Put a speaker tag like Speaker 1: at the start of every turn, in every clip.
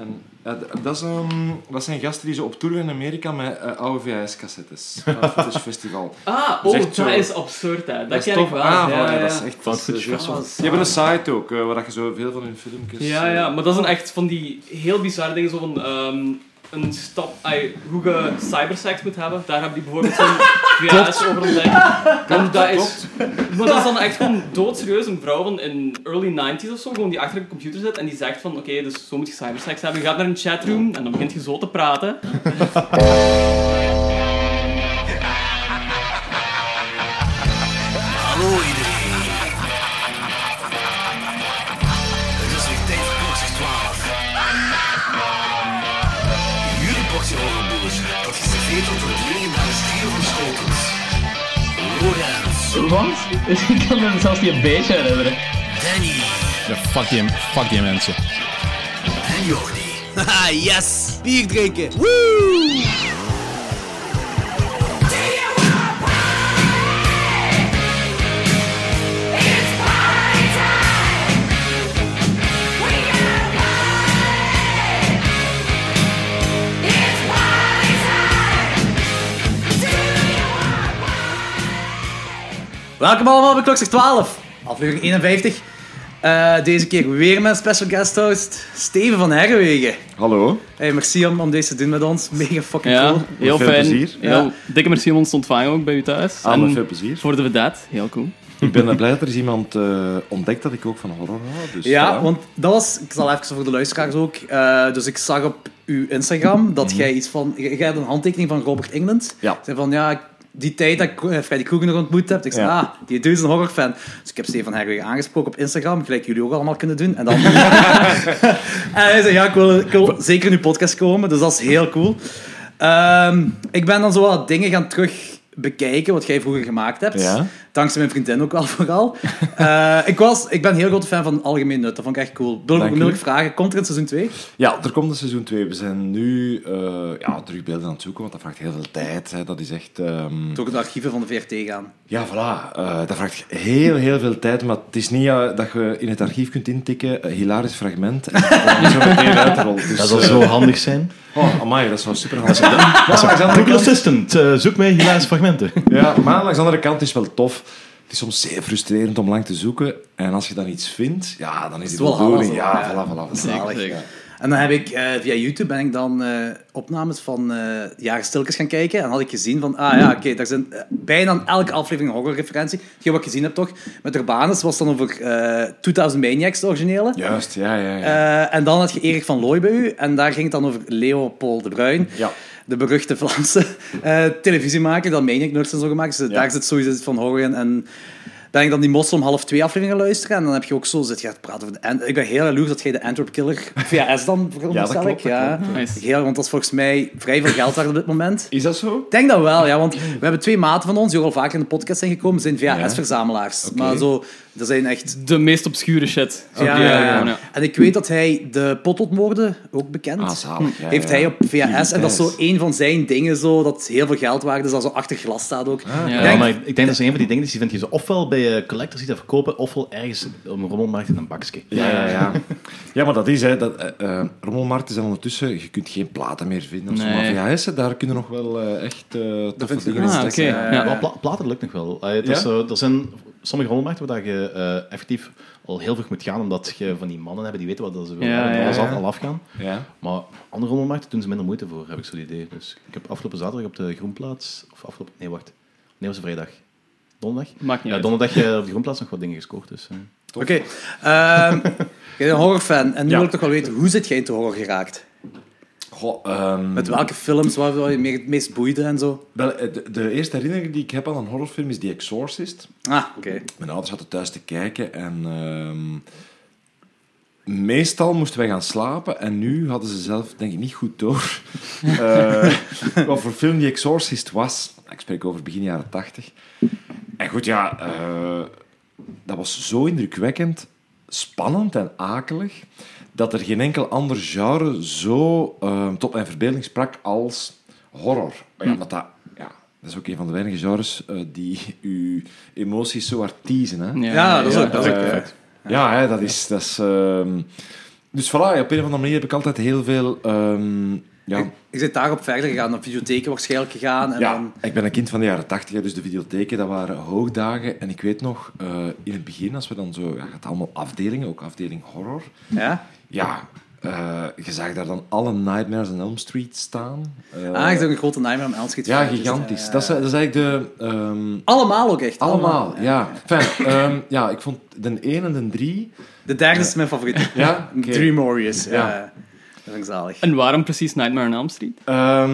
Speaker 1: En, ja, d- dat, is, ehm, dat zijn gasten die zo op tour gaan in Amerika met eh, oude VHS-cassettes. Van het Footage Festival.
Speaker 2: Ah,
Speaker 1: Dat
Speaker 2: oh,
Speaker 1: is
Speaker 2: dat
Speaker 1: echt zo-
Speaker 2: is absurd, hè. Dat,
Speaker 1: is
Speaker 2: ken
Speaker 1: tof.
Speaker 2: ik wel.
Speaker 1: Ah,
Speaker 2: ja,
Speaker 1: voilà,
Speaker 2: ja.
Speaker 1: dat is echt...
Speaker 3: Van
Speaker 1: dat is,
Speaker 3: Footage
Speaker 1: eh,
Speaker 3: Festival.
Speaker 1: Die hebben een site ook, eh, waar je zo veel van hun filmpjes...
Speaker 2: Ja,
Speaker 1: eh,
Speaker 2: ja, maar dat zijn echt van die heel bizarre dingen, zo van ehm, een stap, ai, hoe je cybersex moet hebben. Daar hebben die bijvoorbeeld zo'n VHS over
Speaker 1: eh,
Speaker 2: ontdekt. En dat is, maar dat is dan echt gewoon doodserieus een vrouw van in early 90s of zo, gewoon die achter een computer zit en die zegt van, oké, dus zo moet je cybersex hebben. Je gaat naar een chatroom en dan begint je zo te praten.
Speaker 4: Hallo iedereen. Het is weer tijd voor boxers 12. Jullie boxen hongerboers, dat is geveerd tot het legendarische stier van Schotels. Lorenz,
Speaker 5: Want? Ik kan me zelfs niet een beetje herinneren.
Speaker 4: Danny
Speaker 6: Ja, fuck, die, fuck die mensen.
Speaker 4: en Jordi.
Speaker 7: Haha, yes! Bier drinken! Woo!
Speaker 5: Welkom allemaal bij Klokzicht 12, aflevering 51. Eh, deze keer weer met special guest host, Steven van Herwegen.
Speaker 1: Hallo.
Speaker 5: Hey, merci om, om deze te doen met ons. Mega fucking
Speaker 2: Ja,
Speaker 5: cool.
Speaker 2: heel
Speaker 1: Veel
Speaker 2: fijn.
Speaker 1: plezier.
Speaker 2: Heel, dikke merci om ons te ontvangen ook bij u thuis.
Speaker 1: Ah,
Speaker 2: En
Speaker 1: met veel plezier.
Speaker 2: voor de vedette, heel cool.
Speaker 1: Ik ben eh, blij dat er is iemand eh, ontdekt dat ik ook van horror hou. Dus,
Speaker 5: Ja,
Speaker 1: voilà.
Speaker 5: want dat was, ik zal even voor de luisteraars ook. eh, dus ik zag op uw Instagram dat jij iets van, jij jij had een handtekening van Robert England.
Speaker 1: Ja.
Speaker 5: Zei van ja, ik- die tijd dat ik eh, Freddy Krueger nog ontmoet heb, ik zei
Speaker 1: Ja.
Speaker 5: ah, die dude is een horrorfan. Dus ik heb Steven Herwegen aangesproken op Instagram, gelijk jullie ook allemaal kunnen doen. En, dan... en hij zei ja, ik wil, ik wil zeker in uw podcast komen, dus dat is heel cool. Ehm, ik ben dan zo wat dingen gaan terug bekijken wat jij vroeger gemaakt hebt.
Speaker 1: Ja.
Speaker 5: Dankzij mijn vriendin ook wel vooral. Eh, ik, was, ik ben een heel grote fan van Algemeen Nut. Dat vond ik echt cool. Wil ik
Speaker 1: Dank u.
Speaker 5: onmiddellijk vragen, komt er een seizoen 2?
Speaker 1: Ja, er komt een seizoen 2. We zijn nu eh ja, terug beelden aan het zoeken, want dat vraagt heel veel tijd. Hè. Dat is echt... ehm,
Speaker 5: Door de archieven van de VRT gaan.
Speaker 1: Ja, voilà. Eh, dat vraagt heel, heel veel tijd. Maar het is niet eh, dat je in het archief kunt intikken, eh, hilarisch fragment, en dan zo meteen uitrolt. Dus,
Speaker 3: Dat zal
Speaker 1: eh,
Speaker 3: zo handig zijn.
Speaker 1: Oh, amai, dat zou super handig zijn. Maar
Speaker 2: Ah,
Speaker 1: langs de andere
Speaker 3: Google
Speaker 1: kant-
Speaker 3: Assistant, eh, zoek mij hilarische fragmenten.
Speaker 1: Ja, maar langs de andere kant is het wel tof. Het is soms zeer frustrerend om lang te zoeken. En als je dan iets vindt, ja, dan is
Speaker 5: is
Speaker 1: het
Speaker 5: wel
Speaker 1: wel bedoeling.
Speaker 5: alles,
Speaker 1: Ja,
Speaker 5: ja.
Speaker 1: voilà, voilà. voilà.
Speaker 5: Zalig. En dan heb ik eh, via YouTube ben ik dan eh, opnames van eh Jaren Stilkes gaan kijken. En had ik gezien van, ah ja, oké, daar zijn eh, bijna aan elke aflevering een horrorreferentie. Hetgeen wat ik gezien heb toch, met Urbanus was dan over eh 2000 Maniacs, de originele.
Speaker 1: Juist, ja, ja, ja.
Speaker 5: Eh, en dan had je Erik van Looy bij u. En daar ging het dan over Leopold de Bruin.
Speaker 1: Ja.
Speaker 5: De beruchte Vlaamse eh, televisiemaker. Dat meen ik nerds en zo gemaakt. Dus
Speaker 1: Ja.
Speaker 5: daar zit sowieso iets van horror in. En ben ik dan die moslim half twee afleveringen gaan luisteren. En dan heb je ook zo zit je aan het praten over de... Ant- Ik ben heel jaloers dat jij de Antwerp Killer VHS dan veronderstel
Speaker 1: klopt,
Speaker 5: ik.
Speaker 1: dat
Speaker 5: Ja,
Speaker 1: klopt,
Speaker 2: Nice.
Speaker 5: Heel, want dat is volgens mij vrij veel geld waard op dit moment.
Speaker 1: Is dat zo?
Speaker 5: Ik denk dat wel, ja, want we hebben twee maten van ons die ook al vaker in de podcast zijn gekomen, zijn VHS-verzamelaars. Maar zo, er zijn echt
Speaker 2: De meest obscure shit.
Speaker 5: ja,
Speaker 2: Die,
Speaker 5: ja,
Speaker 2: eh,
Speaker 5: ja. En ik weet dat hij de potloodmoorden, ook bekend,
Speaker 1: Ah, zalig, ja,
Speaker 5: Hm. heeft
Speaker 1: ja.
Speaker 5: hij op VHS. En dat is zo
Speaker 1: Yes.
Speaker 5: een van zijn dingen, zo, dat heel veel geld waard is, dat zo achter glas staat ook.
Speaker 1: Ah,
Speaker 3: Ja,
Speaker 2: Denk-
Speaker 3: maar ik, ik denk dat ze een van die dingen is, die vind je ze ofwel bij eh, collectors die dat verkopen, ofwel ergens op een rommelmarkt in een bakje.
Speaker 1: Ja, ja, ja. ja, maar dat is, hè. Dat, eh, eh, rommelmarkten zijn ondertussen... Je kunt geen platen meer vinden. of zo,
Speaker 2: Nee.
Speaker 1: Maar VHS'en, daar kunnen nog wel eh, echt eh toffe
Speaker 5: vind ik
Speaker 1: dingen in
Speaker 2: Ah, oké.
Speaker 1: zitten.
Speaker 2: Ja.
Speaker 3: Maar pla- platen lukt nog wel. Eh, het is,
Speaker 1: Ja?
Speaker 3: eh, er zijn sommige rommelmarkten waar je eh, effectief al heel vroeg moet gaan, omdat je van die mannen hebt die weten wat dat ze willen.
Speaker 2: Ja,
Speaker 3: hebben, en
Speaker 2: ja,
Speaker 3: alles
Speaker 1: ja.
Speaker 3: Al, al afgaan.
Speaker 1: Ja.
Speaker 3: Maar andere rommelmarkten doen ze minder moeite voor, heb ik zo'n idee. Dus ik heb afgelopen zaterdag op de Groenplaats, of afgelopen, nee wacht, nee was het vrijdag. Donderdag?
Speaker 2: Maakt niet
Speaker 3: ja,
Speaker 2: uit.
Speaker 3: donderdag eh, op de Groenplaats nog wat dingen gescoord. Dus, eh.
Speaker 5: Oké, ehm, jij bent een horrorfan. En nu
Speaker 1: Ja.
Speaker 5: wil ik toch wel weten, hoe zit jij in de horror geraakt?
Speaker 1: Goh, ehm,
Speaker 5: Met welke films, wat wat je meer- het meest boeide en zo?
Speaker 1: wel, eh, de, de eerste herinnering die ik heb aan een horrorfilm is The Exorcist.
Speaker 5: Ah, oké.
Speaker 1: Mijn ouders zaten thuis te kijken en... ehm, Meestal moesten wij gaan slapen en nu hadden ze zelf, denk ik, niet goed door eh, wat voor film die Exorcist was. Ik spreek over begin jaren tachtig. En goed, ja, eh, dat was zo indrukwekkend, spannend en akelig, dat er geen enkel ander genre zo eh, tot mijn verbeelding sprak als horror. Maar
Speaker 5: Hm.
Speaker 1: ja, maar dat, ja, dat is ook een van de weinige genres eh, die uw emoties zo hard teasen. Hè?
Speaker 5: Ja, dat is ook
Speaker 1: Dat,
Speaker 5: dat is ook
Speaker 1: eh,
Speaker 5: perfect.
Speaker 1: Ja, hè, dat is... Dat is ehm, Dus voilà, op een of andere manier heb ik altijd heel veel... ehm, ja,
Speaker 5: Ik, ik ben daarop verder gegaan, naar videotheken waarschijnlijk gegaan. En
Speaker 1: Ja,
Speaker 5: dan,
Speaker 1: ik ben een kind van de jaren tachtig, dus de videotheken, dat waren hoogdagen. En ik weet nog, eh, in het begin, als we dan zo... Ja, je had allemaal afdelingen, ook afdeling horror.
Speaker 5: ja?
Speaker 1: Ja, eh, je zag daar dan alle Nightmares on Elm Street staan. Eh,
Speaker 5: Ah, ik zag een grote Nightmare on Elm Street.
Speaker 1: ja,
Speaker 5: fan, dus,
Speaker 1: gigantisch.
Speaker 5: eh,
Speaker 1: Dat, is, dat is eigenlijk de... ehm,
Speaker 5: Allemaal ook echt.
Speaker 1: allemaal, ja. Enfin, ehm, ja, ik vond de 1 en de 3...
Speaker 5: De derde is mijn favoriet.
Speaker 1: Ja, oké.
Speaker 5: Dream Warriors.
Speaker 1: Ja.
Speaker 5: Ja. dat vind ik zalig.
Speaker 2: En waarom precies Nightmare on Elm Street?
Speaker 1: Ehm,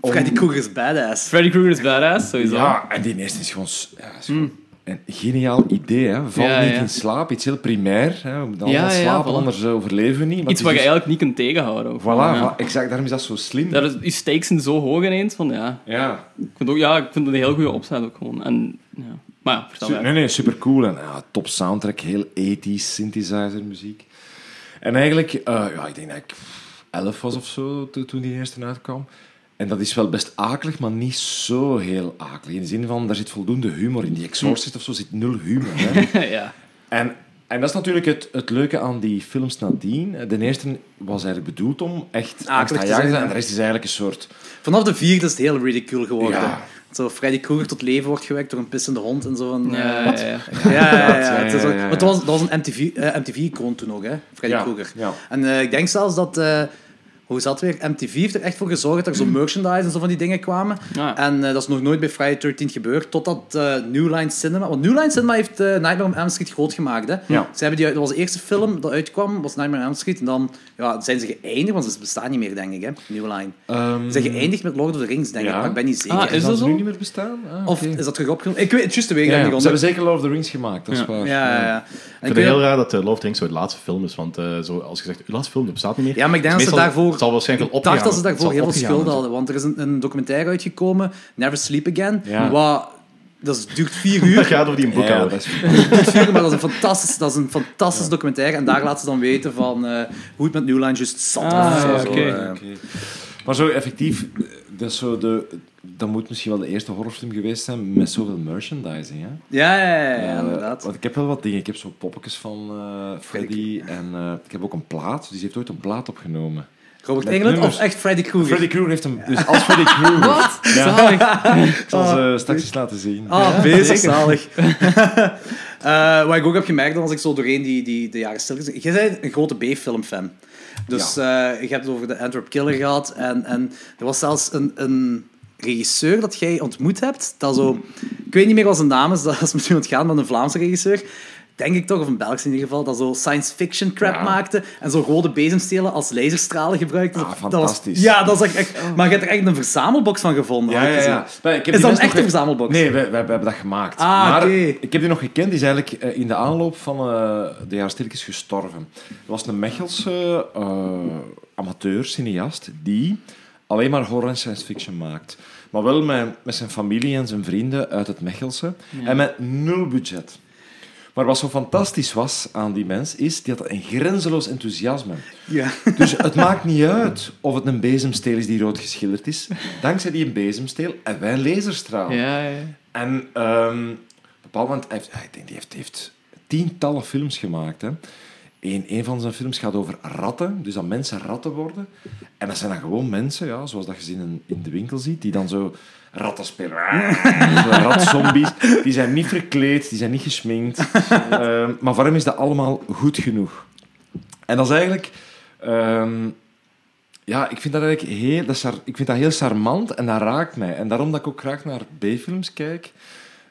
Speaker 1: om-
Speaker 5: Freddy Krueger is badass.
Speaker 2: Freddy Krueger is badass, sowieso.
Speaker 1: Ja, en die eerste is gewoon... s- Ja, is gewoon Een geniaal idee, hè. Val
Speaker 2: Mm. Ja,
Speaker 1: niet
Speaker 2: ja.
Speaker 1: in slaap. Iets heel primair. Hè. We moeten
Speaker 2: Ja,
Speaker 1: allemaal
Speaker 2: ja,
Speaker 1: slapen,
Speaker 2: voilà.
Speaker 1: anders eh, overleven we niet. maar
Speaker 2: Iets
Speaker 1: het
Speaker 2: wat je
Speaker 1: is dus-
Speaker 2: eigenlijk niet kunt tegenhouden. ook.
Speaker 1: Voilà,
Speaker 2: Ja.
Speaker 1: voilà, exact. Daarom is dat zo slim.
Speaker 2: Daar is, je stakes zijn zo hoog ineens, van ja.
Speaker 1: Ja.
Speaker 2: Ik vind, ook, ja, ik vind het een heel goede opzet ook gewoon. En, ja. Maar ja, vertel
Speaker 1: Su-
Speaker 2: mij.
Speaker 1: Nee, nee, super cool. En ja, top soundtrack, heel 80s synthesizer muziek. En eigenlijk, eh, ja, ik denk dat ik 11 was of zo to- toen die eerste uitkwam. En dat is wel best akelig, maar niet zo heel akelig. In de zin van, daar zit voldoende humor in. Die Exorcist of zo zit nul humor. Hè.
Speaker 2: ja.
Speaker 1: En, en dat is natuurlijk het, het leuke aan die films nadien. De eerste was eigenlijk bedoeld om echt
Speaker 5: Akelig te
Speaker 1: angstaanjagend te
Speaker 5: zijn,
Speaker 1: zijn.
Speaker 5: ja.
Speaker 1: En de rest is eigenlijk een soort...
Speaker 5: Vanaf de vierde is het heel ridicule geworden.
Speaker 1: Ja.
Speaker 5: Zo Freddy Krueger tot leven wordt gewekt door een pissende hond en zo van... eh,
Speaker 2: Ja, ja, ja.
Speaker 5: Ja, ja, ja,
Speaker 1: ja,
Speaker 5: Het is ook-
Speaker 1: ja, ja.
Speaker 5: maar het was, dat was een MTV, eh, MTV-icoon toen ook, hè? Freddy
Speaker 1: Ja,
Speaker 5: Krueger.
Speaker 1: ja.
Speaker 5: En eh, ik denk zelfs dat... eh, hoe zat het weer? MTV heeft er echt voor gezorgd dat
Speaker 1: Mm.
Speaker 5: er zo merchandise en zo van die dingen kwamen.
Speaker 2: ja.
Speaker 5: En eh, dat is nog nooit bij Friday 13 gebeurd, totdat eh, New Line Cinema... Want New Line Cinema heeft eh, Nightmare on Elm Street groot gemaakt, hè?
Speaker 1: Ja.
Speaker 5: Ze hebben die, dat was de eerste film dat uitkwam, was Nightmare on Elm Street. En dan ja, zijn ze geëindigd, want ze bestaan niet meer, denk ik, hè? New Line.
Speaker 1: ehm,
Speaker 5: Ze zijn geëindigd met Lord of the Rings, denk ik,
Speaker 1: Ja.
Speaker 5: maar ik ben niet zeker.
Speaker 2: Ah, is
Speaker 1: zal
Speaker 2: dat
Speaker 1: ze
Speaker 2: zo?
Speaker 1: nu niet meer bestaan? Ah,
Speaker 5: Of
Speaker 1: oké.
Speaker 5: is dat terug opgenomen? Ik weet het juist de weg,
Speaker 1: Ja,
Speaker 5: denk
Speaker 1: ja,
Speaker 5: ik.
Speaker 1: ze
Speaker 5: onder-
Speaker 1: hebben zeker Lord of the Rings gemaakt, dat is
Speaker 2: Ja.
Speaker 1: waar.
Speaker 5: Ja, ja, ja. En
Speaker 3: Ik
Speaker 5: ik
Speaker 3: vind het
Speaker 5: weet-
Speaker 3: heel raar dat de Love of the Rings zo de laatste film is, want eh, zo, als je zegt, uw laatste film, dat bestaat niet meer. Dus
Speaker 5: Ja, maar ik denk dat ze
Speaker 3: Meestal-
Speaker 5: daarvoor-
Speaker 3: het zal waarschijnlijk
Speaker 5: Ik
Speaker 3: opgegaan
Speaker 5: dacht dat ze
Speaker 3: worden.
Speaker 5: daarvoor
Speaker 3: Het
Speaker 5: heel
Speaker 3: zal
Speaker 5: veel schulden
Speaker 3: opgegaan
Speaker 5: hadden, want er is een, een documentaire uitgekomen, Never Sleep Again,
Speaker 1: Ja.
Speaker 5: wat... Dat is- duurt vier
Speaker 3: worden. Dat
Speaker 5: uur,
Speaker 3: gaat over die
Speaker 1: Ja,
Speaker 3: boekhouder.
Speaker 1: dat is
Speaker 5: duurt, maar dat is een fantastisch, dat is een fantastisch documentaire. En daar laten ze dan weten van eh, hoe het met New Line just zat.
Speaker 2: Ah,
Speaker 5: was. Zo,
Speaker 2: ja,
Speaker 5: zo,
Speaker 2: oké.
Speaker 5: eh.
Speaker 1: Oké. Maar zo effectief, dat, is zo de, dat moet misschien wel de eerste horrorfilm geweest zijn met zoveel merchandising. Hè?
Speaker 5: Ja, ja, ja, ja,
Speaker 1: Eh,
Speaker 5: inderdaad.
Speaker 1: Want ik heb wel wat dingen. Ik heb zo poppetjes van eh, Freddy en eh, ik heb ook een plaat. Dus die heeft ooit een plaat opgenomen.
Speaker 5: Robert
Speaker 1: met
Speaker 5: Englund of
Speaker 1: nummers.
Speaker 5: echt Freddy Krueger?
Speaker 1: Freddy Krueger heeft hem. Dus als Freddy Krueger. Wat? Ja, ik zal ze straks eens laten zien.
Speaker 5: Ah, Oh. bezig, zalig. Eh, wat ik ook heb gemerkt, dan was ik zo doorheen die, die, de jaren stil Jij bent een grote B-filmfan. Dus eh je hebt het over de Antwerp Killer gehad. En, en er was zelfs een, een regisseur dat jij ontmoet hebt. Dat zo, ik weet niet meer wat zijn naam is, dat is misschien ontgaan, maar een Vlaamse regisseur. Denk ik toch, of een Belgisch in ieder geval, dat zo science fiction crap
Speaker 1: Ja.
Speaker 5: maakte en zo rode bezemstelen als laserstralen gebruikte.
Speaker 1: Ah,
Speaker 5: Dat was-
Speaker 1: fantastisch.
Speaker 5: ja, dat is echt- echt, maar je hebt er echt een verzamelbox van gevonden.
Speaker 1: Ja,
Speaker 5: had ik
Speaker 1: ja,
Speaker 5: gezien.
Speaker 1: ja. Maar ik heb die
Speaker 5: Is dat
Speaker 1: best
Speaker 5: een
Speaker 1: nog
Speaker 5: echte
Speaker 1: ge-
Speaker 5: verzamelbox?
Speaker 1: Nee, we, hebben dat gemaakt.
Speaker 5: Ah,
Speaker 1: maar
Speaker 5: oké.
Speaker 1: ik heb die nog gekend. Die is eigenlijk eh, in de aanloop van eh, de jaren stil is gestorven. Dat was een Mechelse eh, amateur, cineast, die alleen maar horror en science fiction maakt. Maar wel met, met zijn familie en zijn vrienden uit het Mechelse. En met nul budget. Maar wat zo fantastisch was aan die mens, is die had een grenzeloos enthousiasme.
Speaker 5: Ja.
Speaker 1: Dus het maakt niet uit of het een bezemsteel is die rood geschilderd is. Dankzij die bezemsteel en wij laserstraal.
Speaker 2: Ja, ja, ja.
Speaker 1: En ehm, op een bepaald moment, hij heeft, ik denk, die heeft, heeft tientallen films gemaakt. Hè. Eén, een van zijn films gaat over ratten, dus dat mensen ratten worden. En dat zijn dan gewoon mensen, ja, zoals dat je ze in, een- in de winkel ziet, die dan zo ratten spelen. Ah, Zo Ratzombies. Die zijn niet verkleed, die zijn niet gesminkt. Ehm, maar voor hem is dat allemaal goed genoeg. En dat is eigenlijk... ehm, ja, ik vind dat eigenlijk heel, dat is char- ik vind dat heel charmant en dat raakt mij. En daarom dat ik ook graag naar B-films kijk.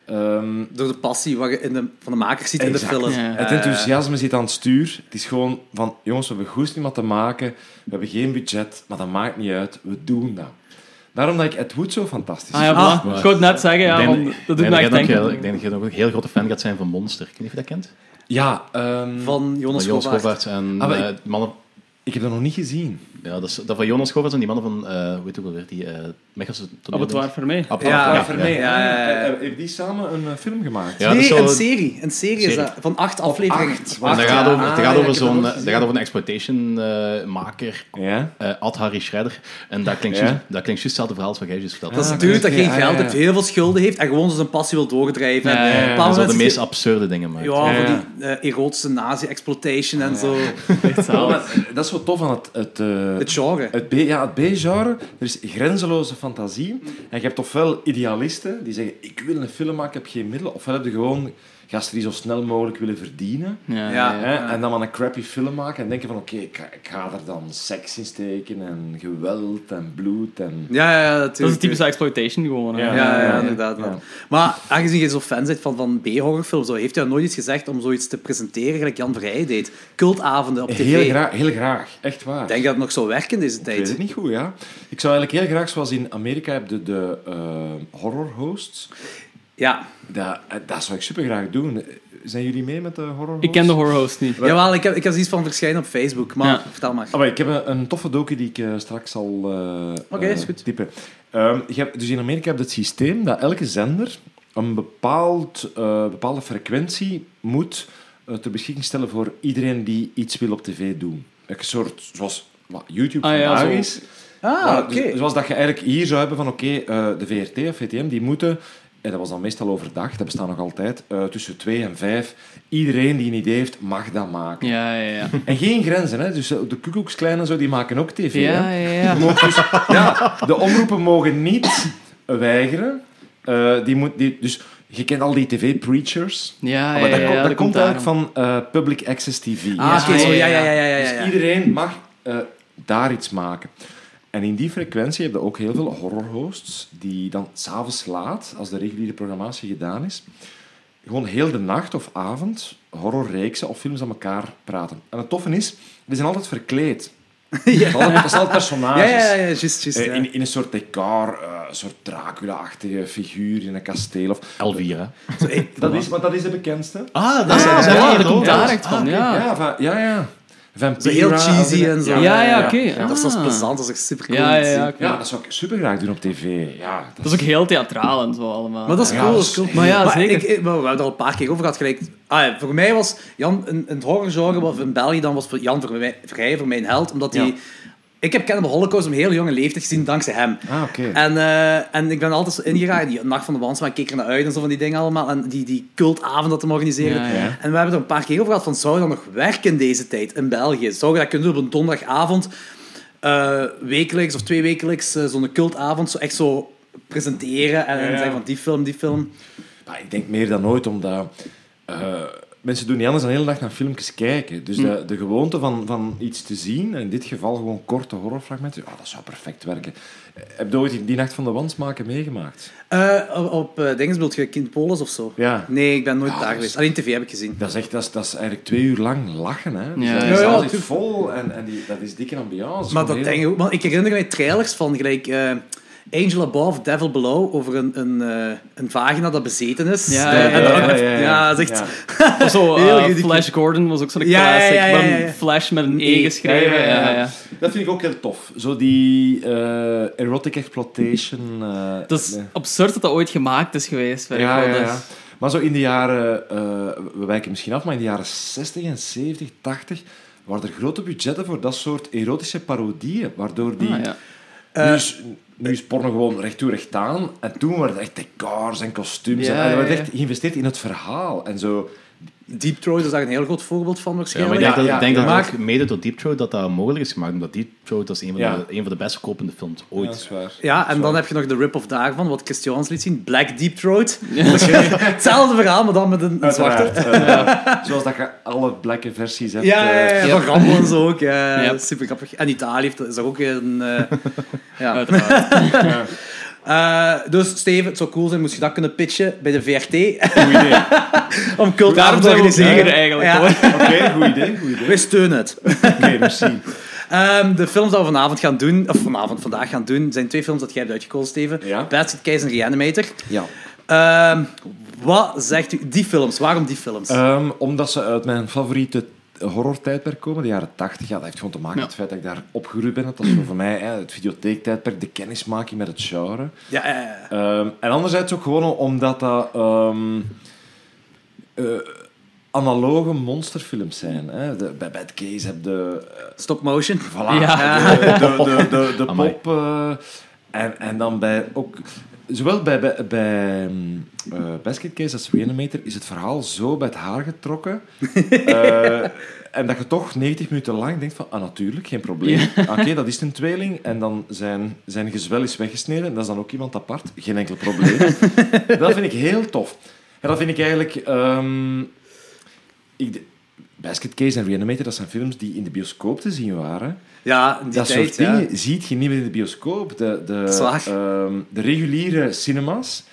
Speaker 1: Ehm,
Speaker 5: Door de passie wat je in de, van de makers ziet in
Speaker 1: Exact.
Speaker 5: de film.
Speaker 2: Ja.
Speaker 1: het
Speaker 3: Eh.
Speaker 1: enthousiasme zit aan het stuur. Het is gewoon van, jongens, we hebben goed iemand te maken. We hebben geen budget, maar dat maakt niet uit. We doen dat. Daarom dat ik Ed Wood zo fantastisch
Speaker 2: Ah, ja,
Speaker 5: Ah.
Speaker 2: voilà. Ik wou het net zeggen, ja,
Speaker 3: Ik denk-
Speaker 2: want dat doet
Speaker 3: ik
Speaker 2: me
Speaker 3: denk
Speaker 2: echt
Speaker 3: dat jij
Speaker 2: denken.
Speaker 3: nog- Ik denk dat jij nog een heel grote fan gaat zijn van Monster. Ik weet niet of je dat kent.
Speaker 1: Ja, ehm,
Speaker 5: Van Jonas
Speaker 3: Van Jonas
Speaker 5: Govaert.
Speaker 3: Govaert en
Speaker 1: Ah, maar
Speaker 3: eh, mannen...
Speaker 1: ik heb dat nog niet gezien.
Speaker 3: Ja, dat, is, dat van Jonas Govers en die mannen van, eh weet ik wel weer, die eh Mechelse toneel.
Speaker 2: Abattoir voor mij.
Speaker 5: Ja,
Speaker 3: Ah, ja, ja.
Speaker 1: Vermeer,
Speaker 5: ja, ja, ja.
Speaker 1: hè? Eh, Heeft die samen een eh, film gemaakt?
Speaker 3: Ja, dat is
Speaker 5: nee,
Speaker 3: zo-
Speaker 5: een serie. Een serie is
Speaker 3: Serie.
Speaker 5: dat. Van acht afleveringen.
Speaker 1: Acht.
Speaker 3: En dat
Speaker 1: Acht,
Speaker 3: gaat
Speaker 1: ja.
Speaker 3: over,
Speaker 1: Ah,
Speaker 3: dat
Speaker 1: ja,
Speaker 3: gaat
Speaker 1: ik
Speaker 3: over
Speaker 1: heb dat
Speaker 3: zo'n
Speaker 1: nog
Speaker 3: eh, dat
Speaker 1: gezien.
Speaker 3: gaat over een exploitation-maker,
Speaker 1: Ja?
Speaker 3: eh, Ad Harry Schreider. En dat klinkt
Speaker 1: Ja.
Speaker 3: juist dat klinkt juist hetzelfde verhaal als wat jij juist vertelde.
Speaker 5: Dat is
Speaker 1: Ah,
Speaker 5: een dude dat
Speaker 1: oké,
Speaker 5: geen
Speaker 1: ah,
Speaker 5: geld
Speaker 1: ja,
Speaker 5: heeft,
Speaker 1: ja.
Speaker 5: heel veel schulden heeft en gewoon zijn passie wil doordrijven. En
Speaker 2: Ja, ja, ja.
Speaker 5: op een
Speaker 3: Dat
Speaker 5: bepaald
Speaker 3: zijn zo de
Speaker 5: moment
Speaker 3: meest
Speaker 5: zit-
Speaker 3: absurde dingen, maar...
Speaker 5: Ja,
Speaker 1: Ja,
Speaker 5: voor
Speaker 1: ja.
Speaker 5: die eh, erotische nazi-exploitation en zo.
Speaker 2: Echt
Speaker 1: Ja,
Speaker 2: zalig.
Speaker 1: maar dat is wel tof aan het... het, eh,
Speaker 5: Het genre.
Speaker 1: Het B, ja, het B-genre, er is grenzeloze fantasie. En je hebt ofwel idealisten die zeggen, ik wil een film maken, ik heb geen middelen. Ofwel heb je gewoon gasten die zo snel mogelijk willen verdienen.
Speaker 2: Ja,
Speaker 5: Ja.
Speaker 1: Hè? En dan maar een crappy film maken en denken van, oké, ik, ga- ik ga er dan seks in steken en geweld en bloed en...
Speaker 5: Ja, ja, ja,
Speaker 2: Dat is
Speaker 5: natuurlijk.
Speaker 2: een typische exploitation gewoon. hè.
Speaker 1: Ja.
Speaker 5: Ja, ja,
Speaker 1: ja, ja.
Speaker 5: inderdaad.
Speaker 1: Ja.
Speaker 5: Maar aangezien je zo fan bent van, van B-horrorfilms, zo, heeft hij nooit iets gezegd om zoiets te presenteren, gelijk Jan Verheij deed. Cultavonden op tv.
Speaker 1: Heel graag, heel graag, echt waar.
Speaker 5: Ik denk dat het nog zou werken in deze
Speaker 1: Ik weet
Speaker 5: tijd.
Speaker 1: het niet goed, ja. Ik zou eigenlijk heel graag, zoals in Amerika heb je de eh horror hosts.
Speaker 5: Ja.
Speaker 1: Dat, eh, dat zou ik super graag doen. Zijn jullie mee met de horror hosts?
Speaker 2: Ik ken de horror host niet.
Speaker 5: Jawel, ik heb, ik heb iets van verschijnen op Facebook, maar
Speaker 2: Ja.
Speaker 5: vertel maar.
Speaker 1: Ah, maar ik heb een, een toffe docu die ik eh, straks zal eh
Speaker 5: Oké,
Speaker 1: eh,
Speaker 5: is goed.
Speaker 1: typen. Ehm, je hebt, dus in Amerika heb je het systeem dat elke zender een bepaald, eh, bepaalde frequentie moet eh, ter beschikking stellen voor iedereen die iets wil op tv doen. Een soort, zoals wat YouTube
Speaker 2: Ah, ja,
Speaker 1: vandaag
Speaker 2: zo.
Speaker 1: is.
Speaker 5: Ah,
Speaker 1: Maar
Speaker 5: oké.
Speaker 1: dus- zoals dat je eigenlijk hier zou hebben van oké, eh, de VRT of VTM, die moeten, en dat was dan meestal overdag, dat bestaat nog altijd, eh, tussen twee en vijf, iedereen die een idee heeft, mag dat maken.
Speaker 2: Ja, ja, ja.
Speaker 1: En geen grenzen, hè. Dus eh, de Kukoekskleinen en zo, die maken ook tv,
Speaker 2: Ja,
Speaker 1: hè.
Speaker 2: ja, ja.
Speaker 1: Die mogen dus- ja, de omroepen mogen niet weigeren. Eh, die moet, die, dus je kent al die tv-preachers.
Speaker 2: Ja,
Speaker 1: Ah, maar dat,
Speaker 2: Ah, ja,
Speaker 1: komt-
Speaker 2: ja,
Speaker 1: dat
Speaker 2: dat
Speaker 1: komt
Speaker 2: daarom.
Speaker 1: eigenlijk van eh, public access tv.
Speaker 5: Ah, oké,
Speaker 2: Ja,
Speaker 5: zo,
Speaker 2: ja,
Speaker 5: ja,
Speaker 2: ja.
Speaker 5: ja, ja, ja, ja. ja.
Speaker 1: Dus iedereen mag eh, daar iets maken. En in die frequentie heb je ook heel veel horrorhosts die dan s'avonds laat, als de reguliere programmatie gedaan is, gewoon heel de nacht of avond horrorreeksen of films aan elkaar praten. En het toffe is, die zijn altijd verkleed. Dat zijn altijd- dat zijn altijd
Speaker 5: Ja,
Speaker 1: personages.
Speaker 5: ja, ja, juist, juist.
Speaker 1: Eh,
Speaker 5: ja.
Speaker 1: In, in een soort decor, eh, een soort Dracula-achtige figuur in een kasteel. Of,
Speaker 3: Elvira.
Speaker 1: dat is, maar dat is de bekendste.
Speaker 3: Ah,
Speaker 2: Ah,
Speaker 3: dat
Speaker 2: ja, dat komt
Speaker 3: daar.
Speaker 2: daar echt van,
Speaker 1: Ja,
Speaker 2: ja.
Speaker 1: van- ja, ja. Vampira,
Speaker 5: Zo heel
Speaker 1: eh,
Speaker 5: cheesy en zo.
Speaker 2: Ja, ja, oké.
Speaker 5: Dat is dat is
Speaker 2: Ah.
Speaker 5: plezant, dat is echt super cool.
Speaker 2: Ja, ja, ja.
Speaker 1: Ja,
Speaker 2: oké.
Speaker 1: dat zou ik super graag doen op tv. Ja,
Speaker 2: Dat is ook heel theatraal en zo allemaal.
Speaker 5: Maar dat is
Speaker 1: Ja,
Speaker 5: cool,
Speaker 1: dat
Speaker 5: dat is
Speaker 1: is
Speaker 5: cool.
Speaker 1: heel-
Speaker 2: Maar ja,
Speaker 5: ik,
Speaker 2: zeker.
Speaker 5: ik- maar we hebben het al een paar keer over gehad. Gelijk, ah, ja, voor mij was Jan, een, een horrorgenre wat in België dan was voor Jan voor mij, Vrij voor mijn held. Omdat hij...
Speaker 1: Ja.
Speaker 5: Ik heb Cannibal Holocaust om heel jonge leeftijd gezien, dankzij hem.
Speaker 1: Ah, oké.
Speaker 5: En, eh, en ik ben altijd zo ingeraakt. Die Nacht van de Wans, maar ik keek er naar uit en zo van die dingen allemaal. En die, die cultavond dat hem organiseerde.
Speaker 2: Ja, ja.
Speaker 5: En we hebben er een paar keer over gehad van, zou dat nog werken in deze tijd in België? Zou je dat kunnen doen op een donderdagavond, eh, wekelijks of twee wekelijks, eh, zo'n cultavond, zo echt zo presenteren en, en
Speaker 1: ja.
Speaker 5: zeggen van die film, die film.
Speaker 1: Maar ik denk meer dan ooit, omdat eh, mensen doen niet anders dan de hele dag naar filmpjes kijken.
Speaker 2: Hm.
Speaker 1: Dus de, de gewoonte van, van iets te zien, en in dit geval gewoon korte horrorfragmenten, ja, dat zou perfect werken. Eh, Heb je ooit die- die Nacht van de Wans maken meegemaakt?
Speaker 5: Eh, op op eh, dingen bedoel je Kind Polis of zo?
Speaker 1: Ja. Ah, dus-
Speaker 5: Nee, ik ben nooit
Speaker 1: Ja,
Speaker 5: daar
Speaker 1: dat
Speaker 5: geweest.
Speaker 1: is-
Speaker 5: Alleen tv heb ik gezien.
Speaker 1: Dat is, echt, dat, is, dat is eigenlijk twee uur lang lachen. Hè? Dus
Speaker 2: Ja,
Speaker 1: dat
Speaker 2: ja,
Speaker 1: is
Speaker 5: ja,
Speaker 1: altijd
Speaker 5: tuurlijk.
Speaker 1: vol en, en die, dat is dikke ambiance. Gewoon
Speaker 5: Maar dat
Speaker 1: heel-
Speaker 5: denk ik ook. Want ik herinner mij trailers van gelijk eh, Angel Above, Devil Below, over een, een, eh, een vagina dat bezeten is.
Speaker 2: Ja,
Speaker 5: Eh,
Speaker 2: ja,
Speaker 5: en
Speaker 2: ja,
Speaker 5: dat- ja, dat is echt-
Speaker 1: Ja.
Speaker 2: Of zo,
Speaker 5: Heel
Speaker 2: eh,
Speaker 5: ridiculous.
Speaker 2: Flash Gordon was ook zo'n
Speaker 5: Ja, ja, ja,
Speaker 2: classic. maar
Speaker 5: ja, ja.
Speaker 2: een Flash met een E geschreven.
Speaker 1: Ja, ja, ja, ja.
Speaker 2: ja.
Speaker 1: Dat vind ik ook heel tof. Zo die eh, erotic exploitation. eh,
Speaker 2: Het is
Speaker 1: nee.
Speaker 2: absurd dat dat ooit gemaakt is geweest. Weet
Speaker 1: Ja,
Speaker 2: ik
Speaker 1: ja,
Speaker 2: wel.
Speaker 1: ja.
Speaker 2: Dus-
Speaker 1: Maar zo in de jaren, eh, we wijken misschien af, maar in de jaren 60 en 70, 80 waren er grote budgetten voor dat soort erotische parodieën. Waardoor die.
Speaker 2: Ah, ja.
Speaker 1: nu, is, nu is porno gewoon recht toe, recht aan. En toen waren het echt decors en kostuums.
Speaker 2: Ja,
Speaker 1: en er werd
Speaker 2: ja, ja.
Speaker 1: echt geïnvesteerd in het verhaal. En zo.
Speaker 5: Deep Throat is daar een heel groot voorbeeld van
Speaker 3: Ja, maar
Speaker 5: waarschijnlijk.
Speaker 3: ik denk
Speaker 1: Ja,
Speaker 3: dat,
Speaker 1: ja,
Speaker 3: ik denk
Speaker 1: ja.
Speaker 3: dat het
Speaker 5: Maar-
Speaker 3: ook mede door Deep Throat dat dat mogelijk is gemaakt. Omdat Deep Throat dat is een van,
Speaker 1: Ja.
Speaker 3: de, een van de best verkopende films ooit.
Speaker 1: waar.
Speaker 5: Ja, en dan heb je nog de rip-off daarvan, wat Christians liet zien, Black Deep Throat. Hetzelfde verhaal, maar dan met een, een zwarte.
Speaker 1: Uiteraard. eh, zoals dat je alle blakke versies hebt.
Speaker 5: Ja, ja, ja,
Speaker 1: eh,
Speaker 5: van Rambo en zo ook. Ja,
Speaker 2: Ja.
Speaker 5: Super grappig. En Italië heeft, is daar ook een... eh, ja.
Speaker 2: Uiteraard.
Speaker 5: Eh, dus Steven, het zou cool zijn, moest je dat kunnen pitchen bij de VRT
Speaker 1: eh, Goed idee.
Speaker 5: om cult
Speaker 2: Daarom
Speaker 5: te
Speaker 2: zijn we ook
Speaker 5: organiseren.
Speaker 2: hier eigenlijk.
Speaker 5: Ja.
Speaker 2: hoor.
Speaker 1: Oké, goed idee. Goed idee.
Speaker 5: Wij steunen het.
Speaker 1: Oké, merci.
Speaker 5: Ehm, de films die we vanavond gaan doen, of vanavond, vandaag gaan doen, zijn twee films dat jij hebt uitgekozen, Steven.
Speaker 1: Ja.
Speaker 5: Basket Case en Reanimator.
Speaker 1: Ja.
Speaker 5: Ehm, wat zegt u... Die films, waarom die films?
Speaker 1: Ehm, omdat ze uit mijn favoriete eh, horror-tijdperk komen, de jaren 80. Ja, dat heeft gewoon te maken met het feit dat ik daar opgegroeid ben. Dat was voor mij hè, het videotheektijdperk, de kennismaking met het genre.
Speaker 5: Ja, eh, ja, ja.
Speaker 1: Ehm, en anderzijds ook gewoon omdat dat ehm, eh, analoge monsterfilms zijn. Hè. De, bij Bad Case heb je eh,
Speaker 5: Stop motion.
Speaker 1: Voilà,
Speaker 5: Ja.
Speaker 1: de, de, de, de, de
Speaker 3: Amai.
Speaker 1: pop. eh, en, en dan bij ook... Zowel bij, bij, bij ehm, eh, Basket Case als Reanimator is het verhaal zo bij het haar getrokken. eh, en dat je toch 90 minuten lang denkt van, ah natuurlijk, geen probleem. Ah, Oké, dat is een tweeling. En dan zijn, zijn gezwel is weggesneden. En dat is dan ook iemand apart. Geen enkel probleem. dat vind ik heel tof. En dat vind ik eigenlijk... ehm, ik, d- Basket Case en Reanimator, dat zijn films die in de bioscoop te zien waren.
Speaker 5: Ja, in die
Speaker 1: Dat
Speaker 5: tijd,
Speaker 1: soort
Speaker 5: ja.
Speaker 1: dingen ziet je niet meer in de bioscoop. De, de,
Speaker 5: Zwaar.
Speaker 1: ehm, de reguliere cinemas,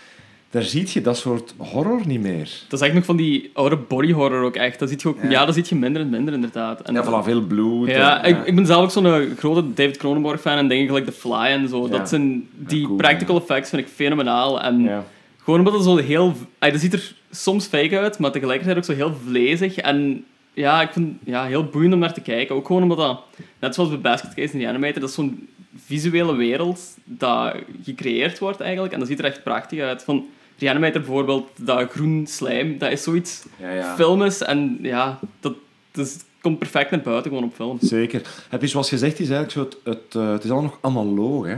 Speaker 1: daar ziet je dat soort horror niet meer.
Speaker 2: Dat is eigenlijk nog van die oude body horror ook echt. Dat ziet je ook,
Speaker 5: Ja.
Speaker 2: ja. dat ziet je minder en minder inderdaad. En
Speaker 1: Ja, vanaf veel bloed.
Speaker 2: Ja,
Speaker 1: en-
Speaker 2: ik, ik ben zelf ook zo'n eh, grote David Cronenberg fan en denk ik gelijk The Fly en zo.
Speaker 1: Ja.
Speaker 2: Dat zijn, die
Speaker 1: Ja, cool,
Speaker 2: practical effects vind ik fenomenaal. En
Speaker 1: ja.
Speaker 2: gewoon omdat het zo heel... ay, dat ziet er soms fake uit, maar tegelijkertijd ook zo heel vlezig. En ja, ik vind ja, heel boeiend om naar te kijken. Ook gewoon omdat dat, net zoals bij Basket Case en die Animator, dat is zo'n visuele wereld dat gecreëerd wordt eigenlijk. En dat ziet er echt prachtig uit. Van Reanimator bijvoorbeeld, dat groen slijm, dat is zoiets
Speaker 1: Ja, ja.
Speaker 2: filmisch. En ja, dat, dat is- komt perfect naar buiten gewoon op film.
Speaker 1: Zeker. Het is zoals gezegd, het is eigenlijk zo het, het, eh, het is allemaal nog analoog. Hè?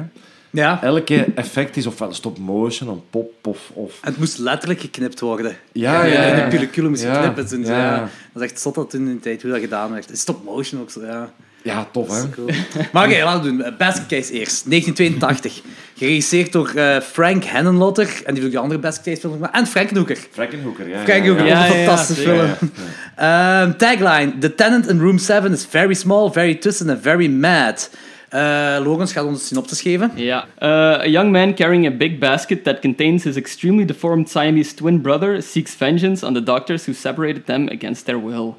Speaker 5: Ja.
Speaker 1: Elke effect is ofwel stop-motion, een pop of... of...
Speaker 5: Het moest letterlijk geknipt worden.
Speaker 1: Ja, ja,
Speaker 5: In
Speaker 1: ja.
Speaker 5: de pellicule moest
Speaker 1: Ja,
Speaker 5: geknipt. En zo,
Speaker 1: ja.
Speaker 5: ja. Dat is echt zot dat toen in de tijd hoe dat gedaan werd. Stop motion ook zo, ja.
Speaker 1: Ja, tof
Speaker 5: Dat
Speaker 1: hè.
Speaker 5: is cool. Maar oké, laten we het doen. Basket Case eerst. 1982. Geregisseerd door eh, Frank Hennenlotter. En die heeft ook de andere Basket Case films gemaakt. En Frank Noeker.
Speaker 1: Frankenhoeker, ja.
Speaker 5: Frank Noeker,
Speaker 2: Ja,
Speaker 5: ook een
Speaker 2: ja, ja,
Speaker 5: fantastische
Speaker 2: zeker.
Speaker 5: film. Ehm, tagline. The tenant in room 7 is very small, very twisted and very mad. Eh Logans gaat ons een synopsis geven.
Speaker 2: Yeah. Uh, a young man carrying a big basket that contains his extremely deformed Siamese twin brother seeks vengeance on the doctors who separated them against their will.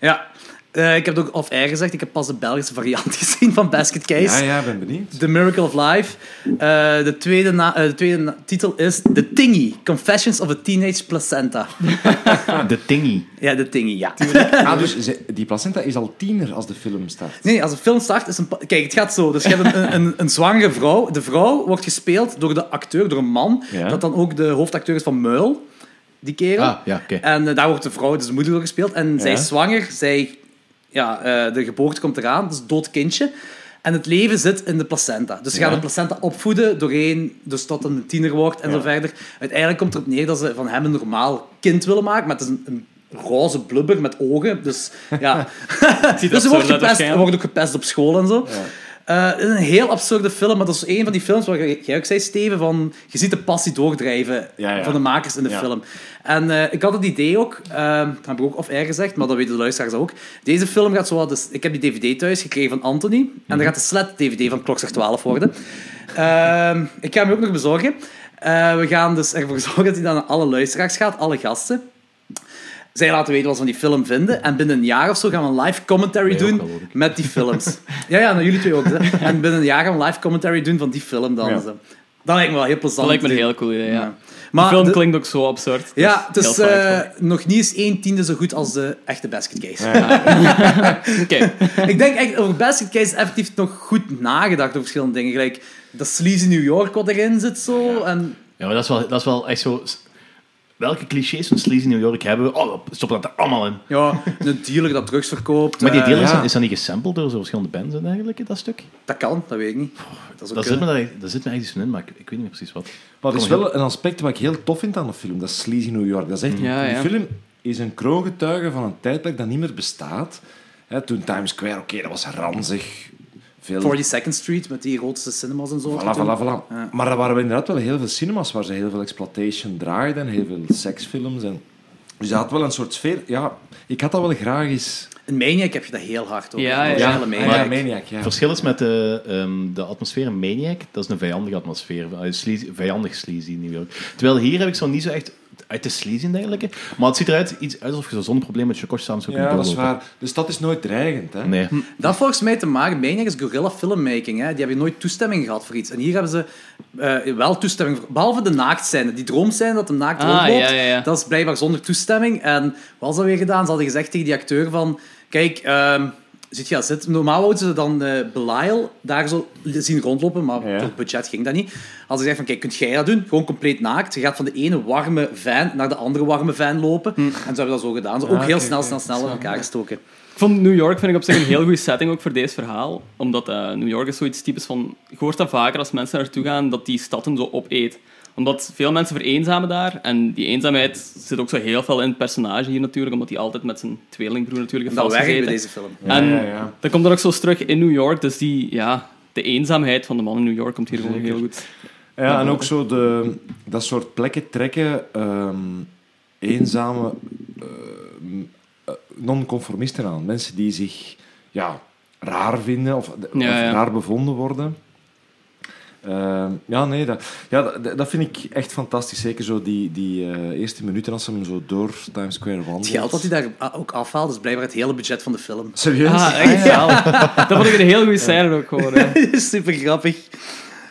Speaker 5: Ja. Eh, ik heb het ook off-air gezegd. Ik heb pas de Belgische variant gezien van Basket Case.
Speaker 1: Ja, ja, ben benieuwd.
Speaker 5: The Miracle of Life. Eh, de tweede, na- eh, de tweede na- titel is The Tingy. Confessions of a Teenage Placenta.
Speaker 3: De Tingy.
Speaker 5: Ja, de Tingy, ja.
Speaker 1: Ah, dus ze- die placenta is al tiener als de film start.
Speaker 5: Nee, als een film start, is een... pa- Kijk, het gaat zo. Dus je hebt een, een, een zwangere vrouw. De vrouw wordt gespeeld door de acteur, door een man.
Speaker 1: Ja.
Speaker 5: Dat dan ook de hoofdacteur is van Meul. Die kerel.
Speaker 3: Ah, ja, oké.
Speaker 5: En eh, daar wordt de vrouw, dus de moeder, door gespeeld. En zij
Speaker 1: Ja.
Speaker 5: is zwanger. Zij, ja, eh, de geboorte komt eraan. Dus dood kindje. En het leven zit in de placenta. Dus ze gaat
Speaker 1: Ja.
Speaker 5: de placenta opvoeden doorheen, dus tot een tiener wordt en
Speaker 1: Ja.
Speaker 5: zo verder. Uiteindelijk komt erop neer dat ze van hem een normaal kind willen maken. Maar het is een, een roze blubber met ogen. Dus ja, dus ze
Speaker 2: absurd
Speaker 5: wordt,
Speaker 2: uit
Speaker 5: gepest,
Speaker 2: waarschijnlijk.
Speaker 5: ze wordt ook gepest op school en zo. Eh, het is een heel absurde film, maar dat is een van die films waar jij ook zei, Steven, van je ziet de passie doordrijven
Speaker 1: Ja, ja.
Speaker 5: van de makers in de
Speaker 1: Ja.
Speaker 5: film. En eh, ik had het idee ook, eh, dat heb ik ook off-air gezegd, maar dat weten de luisteraars ook. Deze film gaat zowel, dus, ik heb die dvd thuis gekregen van Anthony, en
Speaker 3: Mhm.
Speaker 5: dat gaat de Sled-dvd van Klokslag 12 worden. Ehm, ik ga hem ook nog bezorgen. Eh, we gaan dus ervoor zorgen dat hij dan naar alle luisteraars gaat, alle gasten. Zij laten weten wat ze van die film vinden. En binnen een jaar of zo gaan we een live commentary
Speaker 3: Wij ook
Speaker 5: doen
Speaker 3: al, hoor ik.
Speaker 5: met die films. ja, ja, nou, jullie twee ook. hè. En binnen een jaar gaan we een live commentary doen van die film dan.
Speaker 1: Ja.
Speaker 5: zo. Dat lijkt me wel heel plezant.
Speaker 2: Dat lijkt me een
Speaker 5: te doen.
Speaker 2: heel cool idee, ja.
Speaker 5: Ja.
Speaker 2: De
Speaker 5: Maar
Speaker 2: film
Speaker 5: de-
Speaker 2: klinkt ook zo absurd.
Speaker 5: ja, het
Speaker 2: heel
Speaker 5: is
Speaker 2: saai,
Speaker 5: eh, nog niet eens 1 tiende zo goed als de echte Basket Case.
Speaker 2: toch? Oké.
Speaker 5: Ik denk echt over Basket Case is effectief nog goed nagedacht over verschillende dingen. Gelijk dat sleazy New York wat erin zit zo. En,
Speaker 3: Ja, maar dat is wel, dat is wel echt zo... s- Welke clichés van Sleazy New York hebben we? Oh, stop dat er allemaal in.
Speaker 5: ja, een dealer dat drugs verkoopt.
Speaker 3: Maar die
Speaker 5: eh,
Speaker 3: deel is,
Speaker 1: ja.
Speaker 3: dan, is dan niet gesampled door zo verschillende bands en dergelijke, dat stuk?
Speaker 5: Dat kan, dat weet ik niet. Dat is ook
Speaker 3: Daar zit,
Speaker 5: kunnen.
Speaker 3: me, daar- daar zit me eigenlijk iets van in, maar ik, ik weet niet meer precies wat.
Speaker 1: Maar dat is
Speaker 3: Kom,
Speaker 1: wel een aspect wat ik heel tof vind aan de film. Dat is Sleazy New York. Dat is echt,
Speaker 2: Mm. Ja, ja.
Speaker 1: Die film is een kroongetuige van een tijdperk dat niet meer bestaat. Hè, toen Times Square, oké, dat was ranzig. Veel...
Speaker 5: 42nd Street met die grootste cinemas en zo.
Speaker 1: Voilà, voilà, voilà. Maar er waren wel inderdaad wel heel veel cinemas waar ze heel veel exploitation draaiden. Heel veel seksfilms. En... Dus dat had wel een soort sfeer. Ja, ik had dat wel graag eens...
Speaker 5: In Maniac heb je dat heel hard over.
Speaker 2: Ja, ja,
Speaker 5: De
Speaker 2: ja.
Speaker 5: originele
Speaker 1: Ah, ja,
Speaker 5: Maniac.
Speaker 1: Maniac, ja.
Speaker 3: Het verschil is met de, ehm, de atmosfeer in Maniac, dat is een vijandige atmosfeer. Eh, sleazy- vijandig sleazy in New York. Terwijl hier heb ik zo niet zo echt uit de sleazy en dergelijke. Maar het ziet eruit iets uit alsof je zo zonder probleem met je kort samen zou kunnen
Speaker 1: Ja, dat is
Speaker 3: doorlopen.
Speaker 1: waar. De stad is nooit dreigend, hè.
Speaker 3: Nee.
Speaker 2: Hm.
Speaker 5: Dat volgens mij te maken, Maniac is guerrilla filmmaking. Hè. Die hebben nooit toestemming gehad voor iets. En hier hebben ze eh, wel toestemming voor. Behalve de naaktscène. Die droomscène dat de naakt
Speaker 2: Ah,
Speaker 5: rondloopt.
Speaker 2: ja, ja, ja.
Speaker 5: Dat is blijkbaar zonder toestemming. En wat hadden ze weer gedaan? Ze hadden gezegd tegen die acteur van... Kijk, ehm zit je dat zit. Normaal houden ze dan eh Belial daar zo zien rondlopen, maar
Speaker 1: Ja.
Speaker 5: door het budget ging dat niet. Als ze zeggen van, kijk, kunt jij dat doen? Gewoon compleet naakt. Je gaat van de ene warme fan naar de andere warme fan lopen. En ze hebben dat zo gedaan. Ze ook heel snel, snel, snel in elkaar gestoken.
Speaker 2: Ik vond New York vind ik op zich een heel goede setting ook voor deze verhaal. Omdat eh, New York is zoiets typisch van... Je hoort dat vaker als mensen naartoe gaan, dat die stad hem zo opeet. Omdat veel mensen vereenzamen daar. En die eenzaamheid zit ook zo heel veel in het personage hier natuurlijk. Omdat hij altijd met zijn tweelingbroer natuurlijk
Speaker 5: En
Speaker 2: heeft
Speaker 5: dat werkt bij
Speaker 2: vastgezeten.
Speaker 5: deze film.
Speaker 2: En
Speaker 1: Ja, ja, ja.
Speaker 2: dat komt er ook zo eens terug in New York. Dus die, ja, de eenzaamheid van de man in New York komt hier gewoon heel goed.
Speaker 1: Ja, en ook zo de, dat soort plekken trekken ehm, eenzame eh, eh, non-conformisten aan. Mensen die zich ja, raar vinden of, of
Speaker 2: Ja, ja.
Speaker 1: raar bevonden worden. Ehm, ja, nee, dat, ja, dat, dat vind ik echt fantastisch. Zeker zo die, die eh, eerste minuten als ze hem zo door Times Square wandelt.
Speaker 5: Het geld dat hij daar ah, ook afhaalt, is blijkbaar het hele budget van de film.
Speaker 1: Serieus?
Speaker 2: Ah, echt wel. Dat vond ik een heel goede scène ook gewoon. hè.
Speaker 5: Super grappig.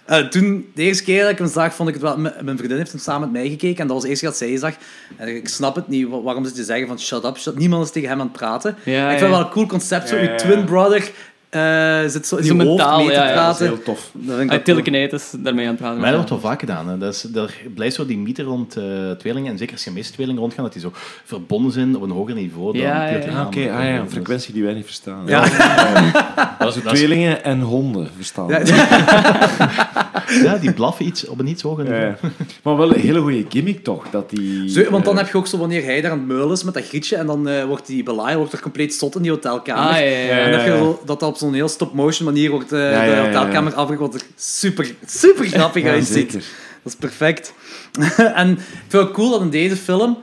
Speaker 5: Eh, toen, de eerste keer dat ik hem zag, vond ik het wel... m- Mijn vriendin heeft hem samen met mij gekeken en dat was de eerste keer dat zij zag. En ik snap het niet, wa- waarom ze te zeggen van shut up, shut Niemand is tegen hem aan het praten.
Speaker 2: Ja,
Speaker 5: ik vind het
Speaker 2: ja.
Speaker 5: wel een cool concept, zo.
Speaker 1: Ja,
Speaker 5: Uw
Speaker 1: ja.
Speaker 5: twin brother eh, zit zo in
Speaker 2: Zo
Speaker 5: je hoofd
Speaker 2: mentaal,
Speaker 5: mee te
Speaker 2: ja, ja,
Speaker 1: dat is
Speaker 5: praten.
Speaker 1: heel tof.
Speaker 5: Dat vind ik wel
Speaker 2: Uit telekinetis daarmee aan het praten.
Speaker 3: Maar dat wordt wel vaak gedaan. Hè. Dat is, er blijft zo die mythe rond eh, tweelingen, en zeker als gemis-tweelingen rondgaan, dat die zo verbonden zijn op een hoger niveau dan
Speaker 2: Ja, ja,
Speaker 3: puur
Speaker 2: ja.
Speaker 3: te
Speaker 1: Ah,
Speaker 3: gaan.
Speaker 1: Oké, ah, ja, een frequentie die wij niet verstaan.
Speaker 5: Ja.
Speaker 3: Dat is- dat is-
Speaker 1: Tweelingen en honden verstaan.
Speaker 5: Ja.
Speaker 3: ja, die blaffen iets op een iets hoger niveau.
Speaker 1: Ja. Maar wel een hele goede gimmick toch? Dat die,
Speaker 5: Zo, want dan
Speaker 1: eh,
Speaker 5: heb je ook zo wanneer hij daar aan het meulen is met dat grietje en dan eh, wordt die Belial wordt er compleet zot in die hotelkamer.
Speaker 2: Ah, ja, ja, ja.
Speaker 5: En dat,
Speaker 1: Ja, ja,
Speaker 5: je
Speaker 1: ja.
Speaker 5: zo- dat dat op zo'n heel stop-motion manier wordt eh,
Speaker 1: ja, ja,
Speaker 5: de
Speaker 1: ja.
Speaker 5: hotelkamer afgekomen, wat er super, super grappig
Speaker 1: ja,
Speaker 5: uitziet.
Speaker 1: zeker.
Speaker 5: Dat is perfect. en ik vind het ook cool dat in deze film,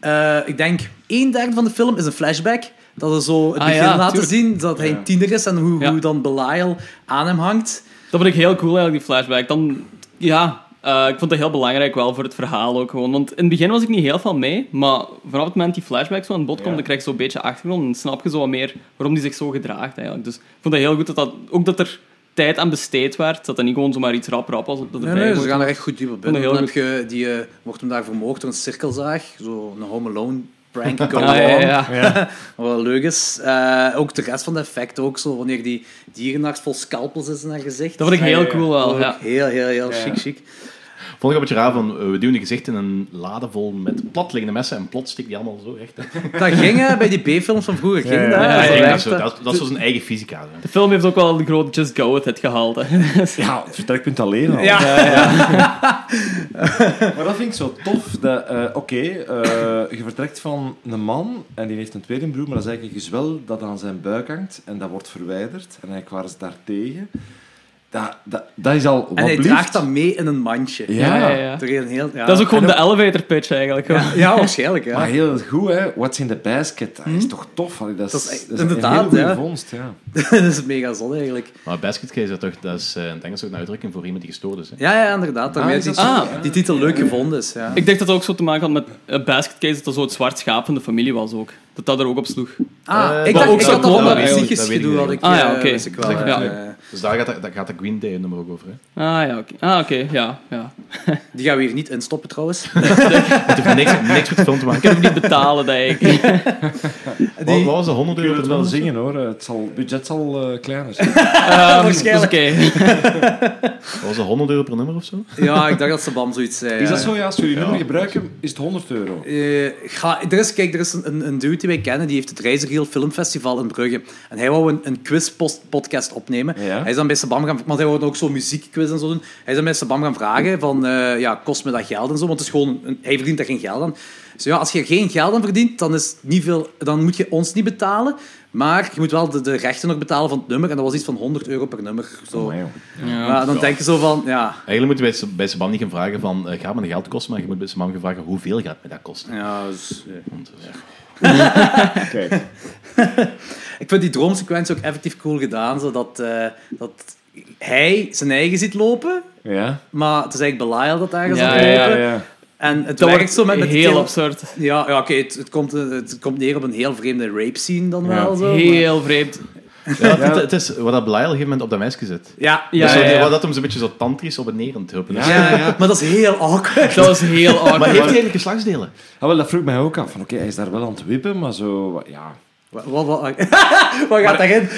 Speaker 5: eh, ik denk, een derde van de film is een flashback. Dat ze zo het
Speaker 2: Ah,
Speaker 5: begin
Speaker 2: ja,
Speaker 5: laten
Speaker 2: tuurlijk.
Speaker 5: zien dat hij een tiener is en hoe,
Speaker 2: Ja.
Speaker 5: hoe dan Belial aan hem hangt.
Speaker 2: Dat vond ik heel cool eigenlijk, die flashback. Dan, ja, eh, ik vond dat heel belangrijk wel voor het verhaal ook gewoon. Want in het begin was ik niet heel veel mee, maar vanaf het moment die flashback zo aan bod komt, dan krijg je zo'n beetje achtergrond en snap je zo wat meer waarom die zich zo gedraagt eigenlijk. Dus ik vond dat heel goed dat dat, ook dat er tijd aan besteed werd, dat dat niet gewoon zomaar iets rap rap was. Dat
Speaker 5: Nee,
Speaker 2: erbij
Speaker 5: nee, ze
Speaker 2: hoort.
Speaker 5: gaan er echt goed diep op in.
Speaker 2: Vond ik
Speaker 5: Dan
Speaker 2: heel
Speaker 5: heb je, die eh, wordt hem daar vermoord door een cirkelzaag. Zo'n Home Alone prank. come
Speaker 2: Ah, ja, ja,
Speaker 5: on.
Speaker 2: ja.
Speaker 5: Wat wel leuk is. Eh, ook de rest van de effecten ook zo. Wanneer die dierenarts vol scalpels is in haar gezicht. Ah,
Speaker 2: Dat vond ik heel
Speaker 1: ja.
Speaker 2: cool
Speaker 5: Dat
Speaker 2: wel,
Speaker 5: vond ik
Speaker 2: ja.
Speaker 5: Heel, heel, heel chic, chic.
Speaker 3: Vond ik een beetje raar van, eh, we duwen een gezicht in een lade vol met platliggende messen en plots stikt die allemaal zo recht. hè.
Speaker 5: Dat ging eh, bij die B-films van vroeger. Ging dat?
Speaker 3: Ja,
Speaker 5: Dat was
Speaker 3: ik denk dat,
Speaker 5: echt,
Speaker 3: zo,
Speaker 5: eh,
Speaker 3: dat, dat is zo zijn eigen fysica. hè.
Speaker 2: De film heeft ook wel de grote just go with it gehaald. hè. Dus
Speaker 1: Ja, het vertrekpunt alleen al.
Speaker 5: Ja.
Speaker 1: Maar dat vind ik zo tof. dat, eh, Oké, eh, je vertrekt van een man en die heeft een tweelingbroer, maar dat is eigenlijk een gezwel dat aan zijn buik hangt en dat wordt verwijderd. En eigenlijk waren ze daartegen. Dat, dat, dat is al wat
Speaker 5: En hij
Speaker 1: blieft.
Speaker 5: draagt dat mee in een mandje.
Speaker 1: Ja.
Speaker 2: Ja, ja, ja.
Speaker 5: Door een heel, ja.
Speaker 2: Dat is ook gewoon de elevator pitch eigenlijk. hoor.
Speaker 5: Ja, ja, waarschijnlijk. Ja. Hm?
Speaker 1: Maar heel goed, hè. What's in the basket? Dat is toch tof? Dat is, dat
Speaker 5: Dat is
Speaker 1: is
Speaker 5: echt-
Speaker 1: een
Speaker 5: inderdaad,
Speaker 1: hele goede
Speaker 5: ja.
Speaker 1: vondst, ja.
Speaker 5: dat is mega zot eigenlijk.
Speaker 3: Maar basket case, dat, toch, dat is eh, in het Engels ook een uitdrukking voor iemand die gestoord is. Hè.
Speaker 5: Ja, ja, inderdaad. Daarmee
Speaker 1: Ah, is
Speaker 5: is
Speaker 1: dat
Speaker 5: die,
Speaker 2: zo?
Speaker 5: die titel leuk gevonden is. Ja.
Speaker 2: Ik denk dat dat ook zo te maken had met eh, Basket Case, dat dat zo het zwart schaap van de familie was ook. Dat dat er ook op sloeg.
Speaker 5: Ah,
Speaker 3: Eh,
Speaker 5: ik
Speaker 3: dat
Speaker 5: dacht
Speaker 2: ook
Speaker 5: ik
Speaker 2: zo
Speaker 5: had dat
Speaker 2: klopt,
Speaker 5: van dat
Speaker 2: dat weet
Speaker 3: ik-
Speaker 5: psychisch
Speaker 3: dat weet ik
Speaker 5: gedoe.
Speaker 3: niet.
Speaker 5: had ik,
Speaker 2: Ah, ja,
Speaker 5: eh,
Speaker 2: oké.
Speaker 5: wist ik wel,
Speaker 2: Zeg, ja.
Speaker 5: eh,
Speaker 3: Dus daar gaat, dat- daar gaat dat Green Day nummer ook over. Hè.
Speaker 2: Ah ja, oké. Ah, oké, ja, ja.
Speaker 5: Die gaan we hier niet instoppen trouwens.
Speaker 3: Het heeft niks, niks met film te maken.
Speaker 2: Niet betalen, denk ik.
Speaker 3: Wat,
Speaker 5: Die-
Speaker 3: wat was de 100
Speaker 1: Je kunt
Speaker 3: euro?
Speaker 1: het wel zingen, hoor. Het, zal, het budget zal eh, kleiner zijn.
Speaker 2: dat is oké.
Speaker 3: Wat was de 100 euro per nummer of zo?
Speaker 5: Ja, ik dacht dat ze bam zoiets eh, zei.
Speaker 1: Is dat
Speaker 5: ja.
Speaker 1: zo? Ja, als jullie nummer gebruiken, is het 100 euro.
Speaker 5: Eh, ga, er is, kijk, er is een, een dude die wij kennen, die heeft het Reizigiel Filmfestival in Brugge. En hij wou een, een quiz-podcast opnemen.
Speaker 1: Ja.
Speaker 5: Hij is dan bij Sabam gaan... Want hij wou ook zo'n muziekquiz en zo doen. Hij is dan bij Sabam gaan vragen van, eh, ja, kost me dat geld en zo? Want het is gewoon... een- hij verdient daar geen geld aan. Dus ja, als je er geen geld aan verdient, dan, is het niet veel, dan moet je ons niet betalen. Maar je moet wel de, de rechten nog betalen van het nummer. En dat was iets van 100 euro per nummer. Zo.
Speaker 1: Amai, joh.
Speaker 5: Maar dan denk je zo van, ja...
Speaker 3: Eigenlijk moet je bij, bij Sabam niet gaan vragen van, eh, gaat me dat geld kosten? Maar je moet bij Sabam gaan vragen, hoeveel gaat me dat kosten?
Speaker 5: ja dus, eh.
Speaker 3: Want, eh,
Speaker 1: Kijk.
Speaker 5: Ik vind die droomsequentie ook effectief cool gedaan, zodat eh, dat hij zijn eigen ziet lopen,
Speaker 1: Ja?
Speaker 5: maar het is eigenlijk Belial dat ergens
Speaker 2: Ja,
Speaker 5: aan het
Speaker 2: ja,
Speaker 5: lopen.
Speaker 1: ja.
Speaker 5: En het
Speaker 2: Dat
Speaker 5: werkt
Speaker 2: wordt
Speaker 5: zo met, met die
Speaker 2: heel
Speaker 5: tele-
Speaker 2: absurd.
Speaker 5: Ja, ja oké, het, het, komt, eh, het komt neer op een heel vreemde rape scene dan
Speaker 1: Ja.
Speaker 5: wel. Zo, maar-
Speaker 2: Heel vreemd.
Speaker 3: Ja, Het, het is wat dat Belial op een gegeven moment op dat meisje zit.
Speaker 5: Ja,
Speaker 2: Ja,
Speaker 3: Dus zo-
Speaker 2: ja, ja.
Speaker 3: Wat dat hem zo'n beetje zo tantrisch op het neer aan het huppen is.
Speaker 1: Ja.
Speaker 5: ja, maar dat is heel awkward.
Speaker 2: Dat was heel
Speaker 3: Maar heeft hij
Speaker 2: awkward.
Speaker 3: eigenlijk geslachtsdelen?
Speaker 1: Ah, wel, dat vroeg mij ook af. van Oké, hij is daar wel aan het wippen, maar zo... Ja,
Speaker 5: Wat, wat, wat, wat gaat daarin?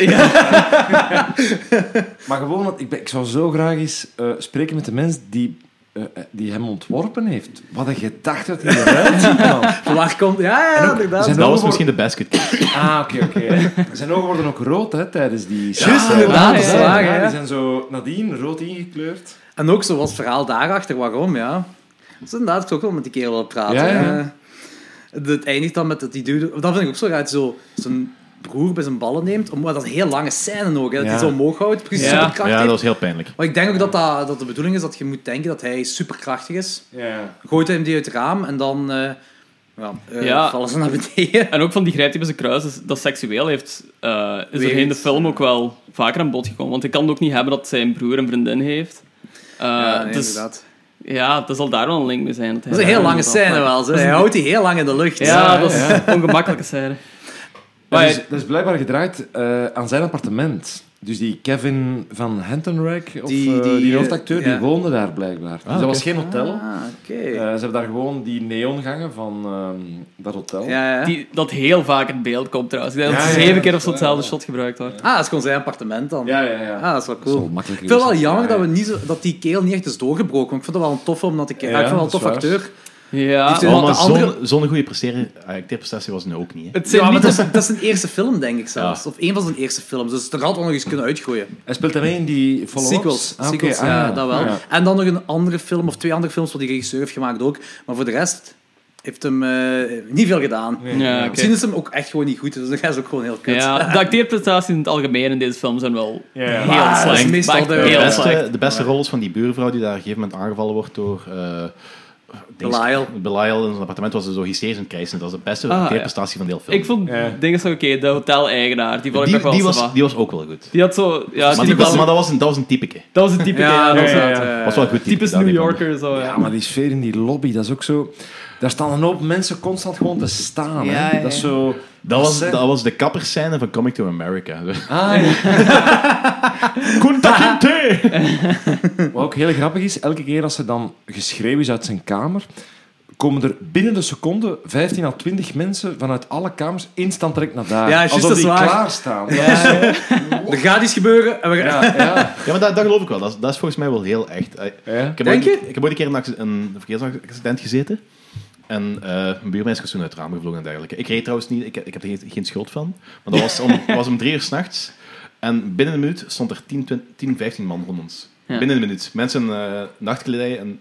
Speaker 1: Maar gewoon, want ik, ben- ik zou zo graag eens eh, spreken met de mens die, eh, eh, die hem ontworpen heeft. Wat een gedachte dat hij eruit ziet, man.
Speaker 5: Van waar komt... Ja, ja, inderdaad.
Speaker 1: zijn
Speaker 3: Dat was
Speaker 1: ogen
Speaker 3: misschien de basket case.
Speaker 1: worden- Ah, oké, oké. Zijn ogen worden ook rood, hè, tijdens die...
Speaker 5: Juist, inderdaad, dat is
Speaker 1: Ja,
Speaker 5: waar,
Speaker 1: ja,
Speaker 5: hè.
Speaker 1: die zijn zo nadien rood ingekleurd.
Speaker 5: En ook zo was het verhaal daarachter, waarom, ja. Dus inderdaad, ik zou ook wel met die kerel willen praten.
Speaker 1: Ja, ja.
Speaker 5: Eh, Het eindigt dan met dat die dude... Dat vind ik ook zo raar, dat hij zo zijn broer bij zijn ballen neemt. Om, maar dat is een heel lange scène ook, hè, dat
Speaker 1: Ja.
Speaker 5: hij zo omhoog houdt. Precies
Speaker 2: Ja.
Speaker 5: superkracht
Speaker 3: Ja, dat
Speaker 5: heeft.
Speaker 3: was heel pijnlijk.
Speaker 5: Maar ik denk ook dat, dat dat de bedoeling is dat je moet denken dat hij superkrachtig is.
Speaker 1: Ja.
Speaker 5: Gooit hij hem die uit het raam en dan... eh, ja, eh,
Speaker 2: Ja.
Speaker 5: vallen ze naar beneden.
Speaker 2: En ook van die grijpt hij bij zijn kruis, is- dat seksueel heeft, eh, is er
Speaker 5: Wegens-
Speaker 2: in de film ook wel vaker aan bod gekomen. Want ik kan het ook niet hebben dat zijn broer een vriendin heeft. Eh,
Speaker 5: ja, nee,
Speaker 2: dus,
Speaker 5: inderdaad.
Speaker 2: ja, dat zal daar wel een link mee zijn. hij
Speaker 5: Dat is een
Speaker 2: daar
Speaker 5: heel lange
Speaker 2: inderdaad
Speaker 5: scène
Speaker 2: wel-
Speaker 5: wel. Ze. Hij houdt die heel lang in de lucht.
Speaker 2: Ja, dat is een ongemakkelijke scène.
Speaker 1: Dat
Speaker 2: Maar
Speaker 5: dus,
Speaker 1: is, dat is blijkbaar gedraaid eh, aan zijn appartement. Dus die Kevin van Hentenrack, of, eh,
Speaker 5: Die-
Speaker 1: die,
Speaker 5: die, eh,
Speaker 1: hoofdacteur,
Speaker 5: ja.
Speaker 1: die woonde daar blijkbaar. dus dat
Speaker 3: oké.
Speaker 1: was geen hotel.
Speaker 5: Ah, oké.
Speaker 1: Eh, ze hebben daar gewoon die neongangen van ehm, dat hotel.
Speaker 5: ja, ja.
Speaker 2: die, dat heel vaak in beeld komt trouwens. Ik denk dat
Speaker 1: Ja,
Speaker 2: het
Speaker 1: ja,
Speaker 2: zeven
Speaker 1: ja.
Speaker 2: keer of zo hetzelfde shot gebruikt wordt.
Speaker 5: Ah, dat is gewoon zijn appartement dan.
Speaker 1: ja, ja. ja.
Speaker 5: Ah, dat is wel
Speaker 1: Dat is wel
Speaker 5: cool.
Speaker 1: makkelijker
Speaker 5: Ik vind het wel
Speaker 1: geweest.
Speaker 5: jammer
Speaker 1: Ja,
Speaker 5: dat, we
Speaker 1: ja.
Speaker 5: niet zo, dat die keel niet echt is doorgebroken. Want ik vond het wel een tof om dat ik...
Speaker 1: Ja,
Speaker 5: ik vond het wel een
Speaker 1: dat is
Speaker 5: tof
Speaker 1: waar.
Speaker 5: acteur.
Speaker 2: Ja,
Speaker 5: Die-
Speaker 3: Oh,
Speaker 5: Want
Speaker 3: maar
Speaker 5: de
Speaker 3: zo'n
Speaker 5: andere-
Speaker 3: zo'n goede presteer- acteerprestatie was nu ook niet. Hè.
Speaker 2: het zijn
Speaker 5: ja, maar
Speaker 2: niet
Speaker 5: dat is, dat is zijn eerste film, denk ik zelfs.
Speaker 3: Ja.
Speaker 5: Of een van zijn eerste films. Dus dat had wel nog eens kunnen uitgooien.
Speaker 1: Hij speelt daarmee in die follow-ups?
Speaker 5: Sequels.
Speaker 1: Ah, oké,
Speaker 5: sequels
Speaker 1: ah,
Speaker 5: ja, dat wel.
Speaker 1: Ah, ja.
Speaker 5: En dan nog een andere film, of twee andere films, wat die regisseur heeft gemaakt ook. Maar voor de rest heeft hem eh, niet veel gedaan.
Speaker 2: Ja, oké.
Speaker 5: Misschien is hem ook echt gewoon niet goed. Dus dat is ook gewoon heel kut.
Speaker 2: Ja, de acteerprestaties in het algemeen in deze film zijn wel
Speaker 1: Ja, ja.
Speaker 2: heel
Speaker 5: Maar Ah, dat is
Speaker 2: slecht.
Speaker 5: meestal
Speaker 2: Vaak
Speaker 5: de-
Speaker 3: De
Speaker 2: heel slecht.
Speaker 3: beste, de beste rol is van die buurvrouw die daar op een gegeven moment aangevallen wordt door... eh, dings-
Speaker 5: Belial.
Speaker 3: Belial in zijn appartement was dus ze zo hysterisch aan het krijsen. Dat was de beste
Speaker 2: Ah, ja.
Speaker 3: acteerprestatie van de hele film.
Speaker 2: Ik vond
Speaker 1: Ja.
Speaker 2: dingen zo oké, de hotel-eigenaar, die vond ik
Speaker 3: die,
Speaker 2: nog wel
Speaker 3: die,
Speaker 2: zo
Speaker 3: was,
Speaker 2: van.
Speaker 3: die was ook wel goed.
Speaker 2: Die had zo... Ja,
Speaker 3: maar
Speaker 2: die
Speaker 3: die was,
Speaker 2: was,
Speaker 3: maar dat, was een, dat was een typeke.
Speaker 2: dat was een type... Ja, dat was
Speaker 1: ja,
Speaker 2: een
Speaker 1: ja.
Speaker 5: eh.
Speaker 3: was wel een goed typeke.
Speaker 2: Typisch
Speaker 3: daar,
Speaker 2: New
Speaker 3: die vond ik.
Speaker 2: Yorker, zo, ja.
Speaker 1: Ja, maar die sfeer in die lobby, dat is ook zo... Daar staan een hoop mensen constant gewoon te staan. hè.
Speaker 2: Ja, ja, ja.
Speaker 1: Dat is zo...
Speaker 3: Dat was,
Speaker 1: Scène.
Speaker 3: dat was de kapperscène van Coming to America.
Speaker 1: Ah, ja.
Speaker 3: Koentak
Speaker 1: Wat ook heel grappig is, elke keer als ze dan geschreeuw is uit zijn kamer, komen er binnen de seconde 15 à 20 mensen vanuit alle kamers instant direct naar daar.
Speaker 5: Ja, juist,
Speaker 1: Alsof
Speaker 5: dat is
Speaker 1: die
Speaker 5: waar.
Speaker 1: klaarstaan. Ja,
Speaker 5: Er gaat iets gebeuren. En we gaan...
Speaker 1: ja.
Speaker 3: Ja, maar dat, dat geloof ik wel. Dat is, dat is volgens mij wel heel echt. Eh,
Speaker 1: ja.
Speaker 3: Ik heb,
Speaker 5: Denk
Speaker 3: ooit,
Speaker 5: je?
Speaker 3: ik heb ooit een keer in een, acc- een verkeersaccident gezeten. En eh een buurmeisje was toen uit het raam gevlogen en dergelijke. Ik reed trouwens niet, ik, ik heb er geen, geen schuld van. Maar dat was om, was om drie uur s'nachts. En binnen een minuut stond er 10, 20 10 15 man rond ons.
Speaker 2: Ja.
Speaker 3: Binnen een minuut. Mensen eh nachtkledij en...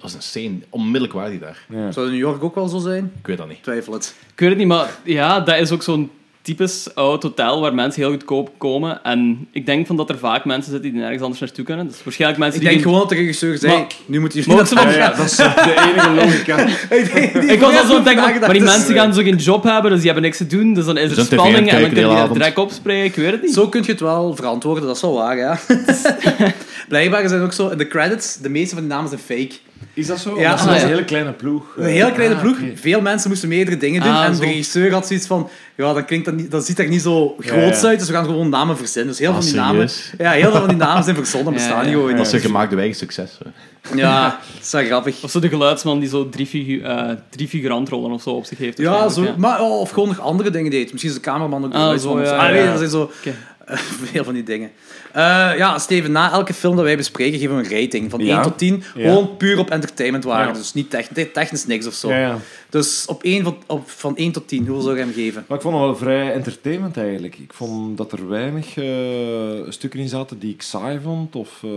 Speaker 3: Dat was insane. Onmiddellijk waren die daar.
Speaker 5: Zou het in New York ook wel zo zijn?
Speaker 3: Ik weet dat niet.
Speaker 5: Ik twijfel het.
Speaker 2: Ik weet het niet, maar ja, dat is ook zo'n typisch oud hotel waar mensen heel goedkoop komen. En ik denk van dat er vaak mensen zitten die nergens anders naartoe kunnen. Dus waarschijnlijk mensen
Speaker 5: Ik denk
Speaker 2: die...
Speaker 5: gewoon dat de regisseur zei,
Speaker 2: Maar-
Speaker 5: nu moet je...
Speaker 2: Maar ook zo van-
Speaker 1: Ja, ja, dat is de enige logica.
Speaker 5: ik, denk- die
Speaker 2: Ik was al zo aan
Speaker 5: vragen
Speaker 2: het denken,
Speaker 5: dachten
Speaker 2: maar die
Speaker 5: ze-
Speaker 2: mensen gaan zo geen job hebben, dus die hebben niks te doen. Dus dan is
Speaker 3: Dus
Speaker 2: er
Speaker 3: een tv
Speaker 2: spanning en
Speaker 3: kijken
Speaker 2: dan kunnen
Speaker 3: de
Speaker 2: die
Speaker 3: hele
Speaker 2: er
Speaker 3: avond.
Speaker 2: direct opspreken. Ik weet het niet.
Speaker 5: Zo kun je het wel verantwoorden, dat is wel waar, ja. Blijkbaar zijn ook zo, in de credits, de meeste van die namen zijn fake.
Speaker 1: Is dat zo?
Speaker 5: Ja,
Speaker 1: Ja,
Speaker 5: ah,
Speaker 1: dat is
Speaker 5: ja.
Speaker 1: een hele kleine ploeg.
Speaker 5: Een heel kleine
Speaker 1: Ah,
Speaker 5: ploeg,
Speaker 1: oké.
Speaker 5: veel mensen moesten meerdere dingen doen.
Speaker 2: Ah,
Speaker 5: en de
Speaker 2: zo.
Speaker 5: regisseur had zoiets van, ja, dat, klinkt dat, niet, dat ziet er niet zo groot
Speaker 1: Ja, ja.
Speaker 5: uit, dus we gaan gewoon namen verzinnen. Dus heel
Speaker 3: Ah,
Speaker 5: veel van die namen...
Speaker 3: serieus?
Speaker 5: Ja, heel veel van die namen zijn verzonnen, bestaan
Speaker 2: ja.
Speaker 5: niet gewoon.
Speaker 3: Dat is een gemaakte eigen succes. hè.
Speaker 5: Ja, dat is wel grappig.
Speaker 2: Of zo de geluidsman die zo drie, figu eh, drie figurantrollen of zo op zich heeft.
Speaker 5: Ja,
Speaker 2: waarschijnlijk,
Speaker 5: zo, Maar, oh, of gewoon nog andere dingen deed. Misschien is de cameraman ook de
Speaker 2: Ah,
Speaker 5: geluidsman
Speaker 2: zo,
Speaker 5: of
Speaker 2: ja,
Speaker 5: Ah,
Speaker 2: ja,
Speaker 5: nee,
Speaker 2: ja.
Speaker 5: dat zijn zo
Speaker 2: Oké.
Speaker 5: eh, veel van die dingen. Eh, ja, Steven, na elke film dat wij bespreken geven we een rating van
Speaker 1: Ja.
Speaker 5: 1 tot 10.
Speaker 1: Ja.
Speaker 5: Gewoon puur op entertainmentwaarde.
Speaker 1: Ja.
Speaker 5: Dus niet technisch, technisch niks of zo.
Speaker 1: Ja, ja.
Speaker 5: Dus op 1 van, op, van 1 tot 10, hoeveel zou je hem geven?
Speaker 1: Maar ik vond het wel vrij entertainment eigenlijk. Ik vond dat er weinig eh, stukken in zaten die ik saai vond. Of, eh,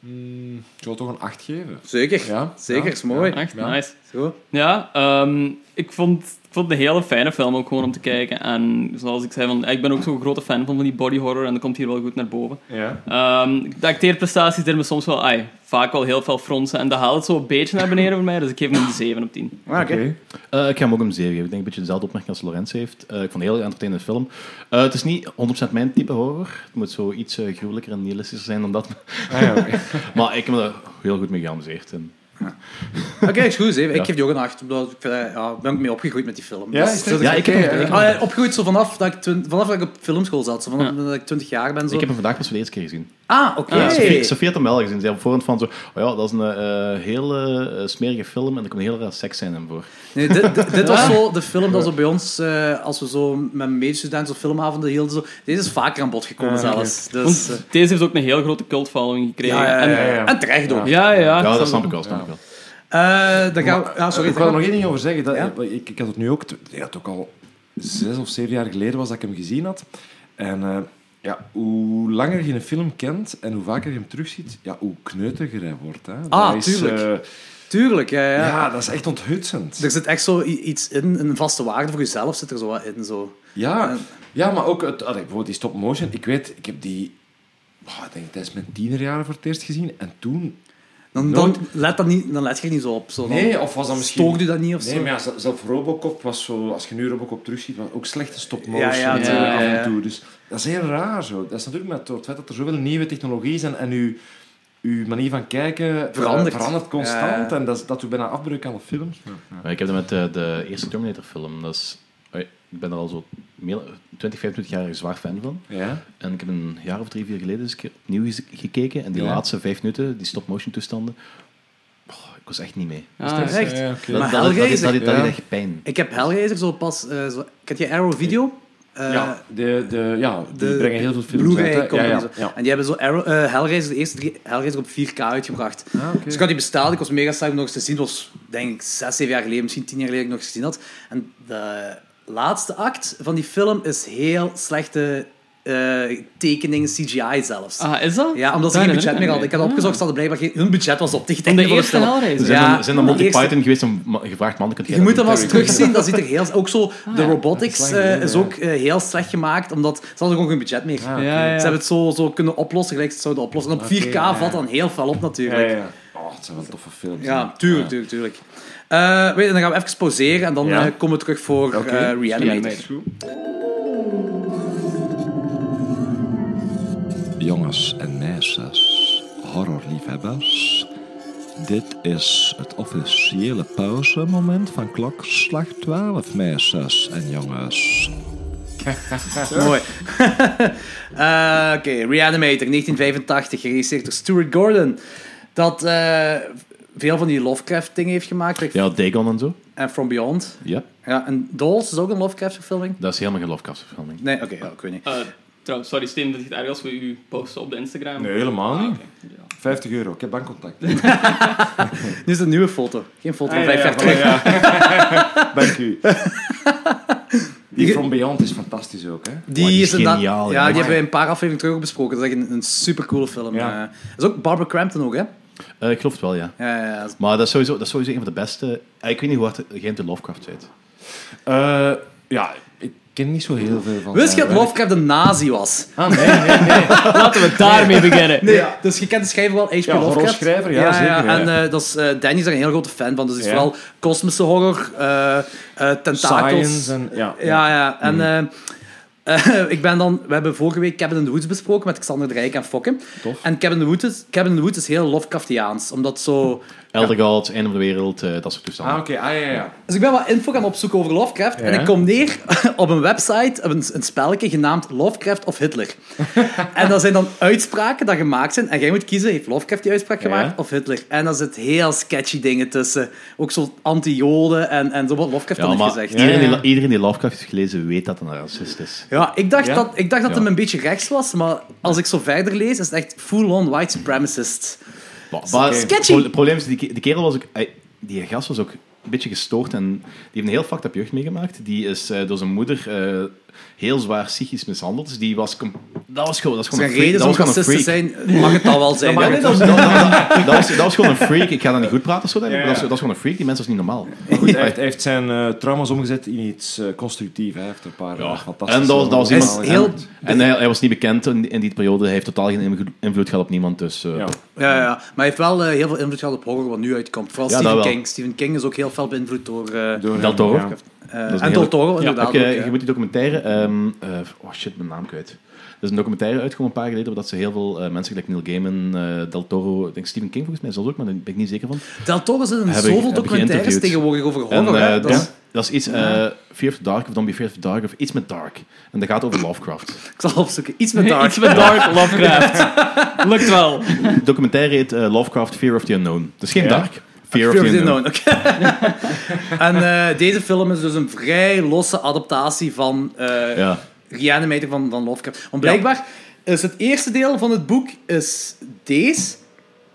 Speaker 1: mm, ik zou toch een 8 geven.
Speaker 5: Zeker.
Speaker 1: Ja,
Speaker 5: Zeker,
Speaker 1: ja,
Speaker 5: is mooi.
Speaker 2: Echt
Speaker 1: Ja.
Speaker 2: nice.
Speaker 5: Zo.
Speaker 2: Ja, ehm, ik, vond, ik vond het een hele fijne film ook gewoon om te kijken. En zoals ik zei, van, ik ben ook zo'n grote fan van, van die body horror en dat komt hier wel goed naar boven.
Speaker 1: Ja.
Speaker 2: Ehm, de acteerprestaties deden me soms wel, ai, vaak wel heel veel fronsen. En dat haalt het zo een beetje naar beneden voor mij, dus ik geef hem een 7 op 10.
Speaker 5: Ah, oké.
Speaker 1: Oké.
Speaker 3: Eh, ik ga hem ook een 7 geven. Ik denk een beetje dezelfde opmerking als Lorenz heeft. Eh, ik vond het een heel entertainende film. Eh, het is niet 100% mijn type horror. Het moet zo iets eh, gruwelijker en nihilistischer zijn dan dat.
Speaker 1: Ah, ja, oké.
Speaker 3: maar ik heb me daar heel goed mee geamuseerd. En
Speaker 5: Oké, excuus. hè. Ik geef die ook een 8. Omdat ik, vind dat- ja, ben ik mee opgegroeid met die film.
Speaker 1: Ja,
Speaker 5: Dus-
Speaker 1: is
Speaker 5: dus
Speaker 1: dat
Speaker 3: Ja, ik heb
Speaker 1: oké,
Speaker 3: hem-
Speaker 1: hè?
Speaker 3: ik heb
Speaker 5: Ah, ja, opgegroeid zo vanaf dat ik, twin- vanaf dat ik op filmschool zat. Zo vanaf
Speaker 3: Ja.
Speaker 5: dat ik 20 jaar ben. Zo.
Speaker 3: Ik heb hem vandaag pas voor de eerste keer gezien.
Speaker 5: Ah, oké.
Speaker 3: Ja, Sophie, Sophie had hem wel gezien. Ze zei op voorhand van zo... Oh ja, dat is een eh, hele eh, smerige film en er komt heel veel seks zijn hem voor.
Speaker 5: Nee, dit, dit- dit was zo de film dat zo bij ons, eh, als we zo met medestudenten of filmavonden hielden, zo, deze is vaker aan bod gekomen zelfs. Dus, eh,
Speaker 2: Want deze heeft ook een heel grote cultfollowing gekregen.
Speaker 5: ja, ja, ja,
Speaker 1: ja, ja.
Speaker 5: En terecht ook.
Speaker 2: En, ja, ja.
Speaker 3: Ja, dat snap ik wel. Snap ik wel.
Speaker 5: Eh, dan gaan we, ja, sorry.
Speaker 1: ik wil er nog één ding over zeggen. Dat,
Speaker 5: Ja?
Speaker 1: ik, ik had het nu ook... t- Ja, het ook al zes of zeven jaar geleden was dat ik hem gezien had. En eh, ja, hoe langer je een film kent en hoe vaker je hem terugziet, ja, hoe kneuteriger hij wordt. Hè.
Speaker 5: Ah,
Speaker 1: Dat is,
Speaker 5: tuurlijk.
Speaker 1: eh,
Speaker 5: Tuurlijk, ja, ja.
Speaker 1: ja. dat is echt onthutsend.
Speaker 5: Er zit echt zo i- iets in, een vaste waarde voor jezelf zit er zo wat in. Zo.
Speaker 1: Ja,
Speaker 5: En-
Speaker 1: ja, maar ook... Het, allee, bijvoorbeeld die stop-motion. Ik weet, ik heb die... oh, ik denk tijdens mijn tienerjaren voor het eerst gezien. En toen...
Speaker 5: Dan, dan,
Speaker 1: Nooit-
Speaker 5: let dat niet, dan let je er niet zo op. Zo. Dan
Speaker 1: Nee, of was dat misschien...
Speaker 5: Stoort je dat niet of zo?
Speaker 1: Nee, maar ja, zel- zelf Robocop was zo, als je nu Robocop terugziet, was ook slechte stop-motion
Speaker 5: Ja, ja,
Speaker 1: natuurlijk
Speaker 2: ja,
Speaker 1: af
Speaker 5: ja.
Speaker 1: en toe. Dus dat is heel raar zo. Dat is natuurlijk met door het feit dat er zoveel nieuwe technologieën zijn en uw, uw manier van kijken eh,
Speaker 5: Verandert.
Speaker 1: verandert constant.
Speaker 5: Ja.
Speaker 1: En dat, is- dat doet bijna afbreuk aan de films.
Speaker 3: Maar ik heb dat met eh, de eerste Terminator-film. Dat is... oei, Ik ben er al zo meer- 20, 25 jaar een zwaar fan van.
Speaker 1: Ja.
Speaker 5: Ah,
Speaker 3: En ik heb een jaar of drie, vier geleden eens een keer opnieuw gez- gekeken. En die
Speaker 1: Ja.
Speaker 3: laatste vijf minuten, die stop-motion toestanden... oh, ik was echt niet mee.
Speaker 1: Dus
Speaker 2: Ah, ja.
Speaker 5: Echt?
Speaker 3: Dat,
Speaker 5: Maar
Speaker 3: dat, dat, dat,
Speaker 5: Hellraiser-
Speaker 3: dat- dat- dat
Speaker 1: Ja.
Speaker 3: deed echt pijn.
Speaker 5: Ik heb Hellraiser zo pas... eh, zo, ik had die Arrow Video. eh,
Speaker 1: ja, de, de, ja, die
Speaker 5: de-
Speaker 1: brengen heel veel films
Speaker 5: Blu-ray
Speaker 1: uit. hè. Ja,
Speaker 5: company
Speaker 1: ja,
Speaker 5: zo.
Speaker 1: ja.
Speaker 5: En die hebben zo Arrow, eh, Hellraiser, de eerste drie Hellraiser op 4K uitgebracht.
Speaker 1: Ah, oké.
Speaker 5: Dus ik had die besteld, ik was mega saai om nog eens te zien. Het was denk ik 6, 7 jaar geleden, misschien 10 jaar geleden dat ik nog eens gezien had. En de laatste act van die film is heel slechte eh, tekeningen, CGI zelfs.
Speaker 2: Ah, is dat?
Speaker 5: Ja, omdat ze
Speaker 2: Daar herinner
Speaker 5: geen budget
Speaker 2: ik
Speaker 5: meer
Speaker 2: me
Speaker 5: hadden. Ik had
Speaker 2: aan.
Speaker 5: opgezocht, ze hadden blijkbaar geen, hun budget was op tegen
Speaker 2: Van de
Speaker 5: voor
Speaker 2: eerste
Speaker 5: film.
Speaker 2: Hellraiser?
Speaker 3: Zijn,
Speaker 5: Ja,
Speaker 3: dan, zijn dan
Speaker 5: de
Speaker 3: Monty
Speaker 5: eerste-
Speaker 3: Python geweest en ma- gevraagd, man, kun jij
Speaker 5: Je moet
Speaker 3: dat
Speaker 5: hem wel eens
Speaker 3: doen?
Speaker 5: terugzien, dat ziet er heel... Ook
Speaker 2: Ah,
Speaker 5: zo, de robotics
Speaker 1: Dat is lang
Speaker 5: eh,
Speaker 1: geleden,
Speaker 5: is
Speaker 1: ja.
Speaker 5: ook eh, heel slecht gemaakt, omdat ze hadden gewoon geen budget meer.
Speaker 1: Ah, oké.
Speaker 2: Ja, ja.
Speaker 5: Ze hebben het zo, zo kunnen oplossen gelijk ze het zouden oplossen. En op 4K
Speaker 1: ja.
Speaker 5: valt dan heel fel op
Speaker 1: Ja,
Speaker 5: natuurlijk.
Speaker 1: ja,
Speaker 5: Ja,
Speaker 1: ja. Oh, het zijn wel toffe films. hè.
Speaker 5: tuurlijk, tuurlijk, tuurlijk. Eh, weet je, dan gaan we even pauzeren en dan
Speaker 1: Ja.
Speaker 5: eh, komen we terug voor eh
Speaker 1: Oké.
Speaker 5: Reanimator.
Speaker 8: Jongens en meisjes, horrorliefhebbers. Dit is het officiële pauzemoment van klokslag 12, meisjes en jongens.
Speaker 5: Mooi. Eh, Oké, Reanimator, 1985, geregisseerd door Stuart Gordon. Dat eh, veel van die Lovecraft-dingen heeft gemaakt. like-
Speaker 3: Ja, Dagon en zo.
Speaker 5: En From Beyond.
Speaker 3: Ja,
Speaker 5: Ja, en Dolls is ook een Lovecraft-verfilming.
Speaker 3: dat is helemaal geen Lovecraft-verfilming.
Speaker 5: Nee, oké, ja, ik weet niet.
Speaker 2: Eh, trouwens, sorry Steen, dat het erg als we u posten op de Instagram. Ah,
Speaker 1: Nee, helemaal niet. 50 euro, ik heb bankcontact.
Speaker 5: Dit is een nieuwe foto. Geen foto van
Speaker 1: Ah,
Speaker 5: vijf
Speaker 1: ja,
Speaker 5: jaar
Speaker 1: ja,
Speaker 5: terug.
Speaker 1: voilà, ja. Dank u. Die From Beyond is fantastisch ook, hè?
Speaker 5: Die,
Speaker 3: Maar die
Speaker 5: is
Speaker 3: is
Speaker 5: inderdaad- Ja,
Speaker 3: geniaal, ja.
Speaker 5: die hebben we een paar afleveringen terug ook besproken. Dat is echt een, een supercoole film.
Speaker 1: Ja.
Speaker 5: eh. dat is ook Barbara Crampton ook, hè?
Speaker 3: Eh, ik geloof het wel, ja.
Speaker 5: Ja, ja, ja.
Speaker 3: Maar dat is sowieso, dat is sowieso een van de beste... eh, ik weet niet hoe hard jij de Lovecraft zit.
Speaker 1: Eh, ja, ik ken niet zo heel veel van.
Speaker 5: Wist je
Speaker 1: zijn
Speaker 5: dat
Speaker 1: werk.
Speaker 5: Lovecraft een nazi was?
Speaker 1: Ah, nee, nee, nee.
Speaker 2: Laten we daarmee beginnen.
Speaker 5: Nee, dus je kent de schrijver wel, H.P.
Speaker 1: Ja,
Speaker 5: Lovecraft.
Speaker 1: horrorschrijver, ja, zeker, ja.
Speaker 5: En eh, dat is, eh, Danny is daar een heel grote fan van. Dus het is
Speaker 1: Ja.
Speaker 5: vooral kosmische horror, eh, eh, tentakels.
Speaker 1: Science en... Ja, Mhm.
Speaker 5: Ja, ja. En eh, eh, ik ben dan... We hebben vorige week Cabin in the Woods besproken met Xander de Rijk en Fokke.
Speaker 1: Tof.
Speaker 5: En Cabin in the Woods is, Cabin in the Woods is heel Lovecraftiaans. Omdat zo...
Speaker 3: Elder Gods, Einde van de Wereld, eh, dat soort toestanden.
Speaker 1: Ah, oké. Ah, ja, ja.
Speaker 5: Dus ik ben wat info gaan opzoeken over Lovecraft. En ik kom neer op een website, op een, een spelletje genaamd Lovecraft of Hitler. en dat zijn dan uitspraken die gemaakt zijn. En jij moet kiezen, heeft Lovecraft die uitspraak gemaakt of Hitler? En daar zitten heel sketchy dingen tussen. Ook zo anti-joden en, en zo wat Lovecraft
Speaker 3: Ja,
Speaker 5: dan heeft
Speaker 3: maar
Speaker 5: gezegd.
Speaker 1: Ja,
Speaker 3: iedereen,
Speaker 1: ja.
Speaker 3: Die, iedereen die Lovecraft heeft gelezen weet dat het een racist is.
Speaker 5: Ja, ik dacht
Speaker 1: Ja?
Speaker 5: dat, ik dacht dat
Speaker 3: Ja.
Speaker 5: hem een beetje rechts was, maar als ik zo verder lees, is het echt full-on white supremacist.
Speaker 3: Maar, maar
Speaker 5: Sketchy.
Speaker 3: het pro- het probleem is, die, ke- die kerel was ook... hij- die gast was ook een beetje gestoord en die heeft een heel fucked up jeugd meegemaakt. Die is eh, door zijn moeder eh, heel zwaar psychisch mishandeld. Dus die was... com- Dat was gewoon, dat was
Speaker 5: Als er
Speaker 3: gewoon
Speaker 5: Dus een reden
Speaker 3: freak.
Speaker 5: is
Speaker 3: Dat
Speaker 5: om
Speaker 3: was gewoon een
Speaker 5: racist te
Speaker 3: freak.
Speaker 5: zijn, mag het dan wel zijn.
Speaker 3: Maar
Speaker 5: hè.
Speaker 3: nee, dat, was, dat, dat- dat was, dat was gewoon een freak. Ik ga dat niet goed praten, zo, denk ik, maar dat, is, dat is gewoon een freak. Die mensen is niet normaal.
Speaker 1: Maar goed, hij heeft, hij heeft zijn eh, trauma's omgezet in iets eh, constructiefs. Hij heeft een paar eh, fantastische...
Speaker 3: En dat was, dat was
Speaker 5: Hij is
Speaker 3: iemand...
Speaker 5: heel-
Speaker 3: En hij, hij was niet bekend in, in die periode. Hij heeft totaal geen invloed- invloed gehad op niemand. Dus, eh,
Speaker 1: Ja.
Speaker 5: Ja, ja, maar hij heeft wel eh, heel veel invloed gehad op horror wat nu uitkomt. Vooral
Speaker 3: Ja, dat
Speaker 5: Stephen
Speaker 3: wel.
Speaker 5: King. Stephen King is ook heel fel beïnvloed door... eh, eh,
Speaker 1: Door hem,
Speaker 3: Del Toro.
Speaker 1: ja.
Speaker 3: Dat is
Speaker 5: en
Speaker 3: een
Speaker 5: Del
Speaker 3: hele-
Speaker 5: Toro,
Speaker 3: Ja,
Speaker 5: inderdaad.
Speaker 3: ook, eh,
Speaker 5: ook, ja.
Speaker 3: Je moet die documentaire... ehm, eh, oh shit, mijn naam kwijt. Er is een documentaire uitgekomen een paar jaar geleden, waar dat ze heel veel eh, mensen, gelijk Neil Gaiman, eh, Del Toro, ik denk Stephen King volgens mij zelfs ook, maar daar ben ik niet zeker van.
Speaker 5: Del Toro zit in
Speaker 3: Heb ik- heb
Speaker 5: zoveel
Speaker 3: ik
Speaker 5: documentaires
Speaker 3: geïnterviewd.
Speaker 5: tegenwoordig over
Speaker 3: En,
Speaker 5: horror.
Speaker 3: eh,
Speaker 5: Oh, hè. Dat
Speaker 3: Dan-
Speaker 5: is-
Speaker 3: dat is iets, eh Fear of the Dark, of Don't Be Fear of the Dark, of iets met Dark. En dat gaat over Lovecraft.
Speaker 5: Ik zal opzoeken. Iets met dark.
Speaker 2: Iets met Dark Lovecraft. Lukt wel.
Speaker 3: De documentaire heet eh, Lovecraft, Fear of the Unknown. Dus geen Dark. Fear of the
Speaker 5: Fear of the
Speaker 3: Unknown.
Speaker 5: Unknown, oké. en eh, deze film is dus een vrij losse adaptatie van eh
Speaker 3: Ja.
Speaker 5: Reanimator van, van Lovecraft. Want blijkbaar is het eerste deel van het boek is deze.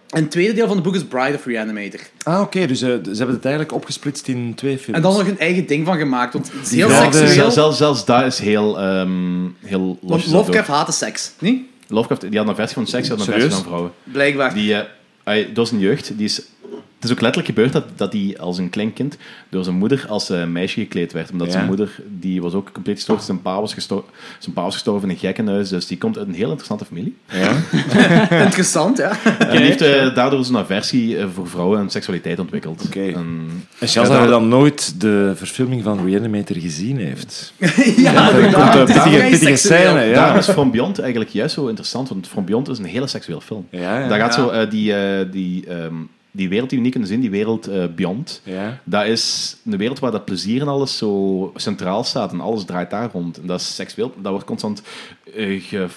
Speaker 5: En het tweede deel van het boek is Bride of Reanimator.
Speaker 1: Ah, oké. dus eh, ze hebben het eigenlijk opgesplitst in twee films.
Speaker 5: En dan nog een eigen ding van gemaakt, want het is heel
Speaker 3: Ja,
Speaker 1: de-
Speaker 5: seksueel.
Speaker 3: zelfs- zelfs, zelfs daar is heel, ehm heel
Speaker 5: Want
Speaker 3: losjes dat
Speaker 5: Lovecraft haatte seks, niet?
Speaker 3: ook. Lovecraft, die had een versie van seks, die had een
Speaker 1: Serieus?
Speaker 3: versie van vrouwen.
Speaker 5: Blijkbaar.
Speaker 3: Die, eh, hij- dat is een jeugd. Die is, het is ook letterlijk gebeurd dat, dat hij als een klein kind door zijn moeder als eh, meisje gekleed werd. Omdat
Speaker 1: Ja.
Speaker 3: zijn moeder, die was ook compleet gestoord. Zijn pa was, gesto- zijn pa was gestorven in een gekkenhuis. Dus die komt uit een heel interessante familie.
Speaker 1: Ja.
Speaker 5: Interessant, ja.
Speaker 3: En die heeft eh, daardoor zijn aversie eh, voor vrouwen en seksualiteit ontwikkeld.
Speaker 1: Oké.
Speaker 3: En-
Speaker 1: En zelfs dat hij dan nooit de verfilming van Reanimator gezien heeft.
Speaker 5: ja,
Speaker 1: Dat komt
Speaker 5: inderdaad.
Speaker 1: een
Speaker 5: Het is
Speaker 1: pittige,
Speaker 5: vrij
Speaker 1: pittige
Speaker 5: seksueel.
Speaker 1: scène,
Speaker 3: Daarom
Speaker 1: ja.
Speaker 3: is From Beyond eigenlijk juist zo interessant, want From Beyond is een hele seksueel film.
Speaker 1: Ja, ja.
Speaker 3: Daar gaat
Speaker 5: Ja.
Speaker 3: zo eh, die, eh, die, ehm, die wereld die we niet kunnen zien, die wereld eh, Beyond.
Speaker 1: Ja.
Speaker 3: Dat is een wereld waar dat plezier en alles zo centraal staat en alles draait daar rond. En dat is seksueel, dat wordt constant eh, ge-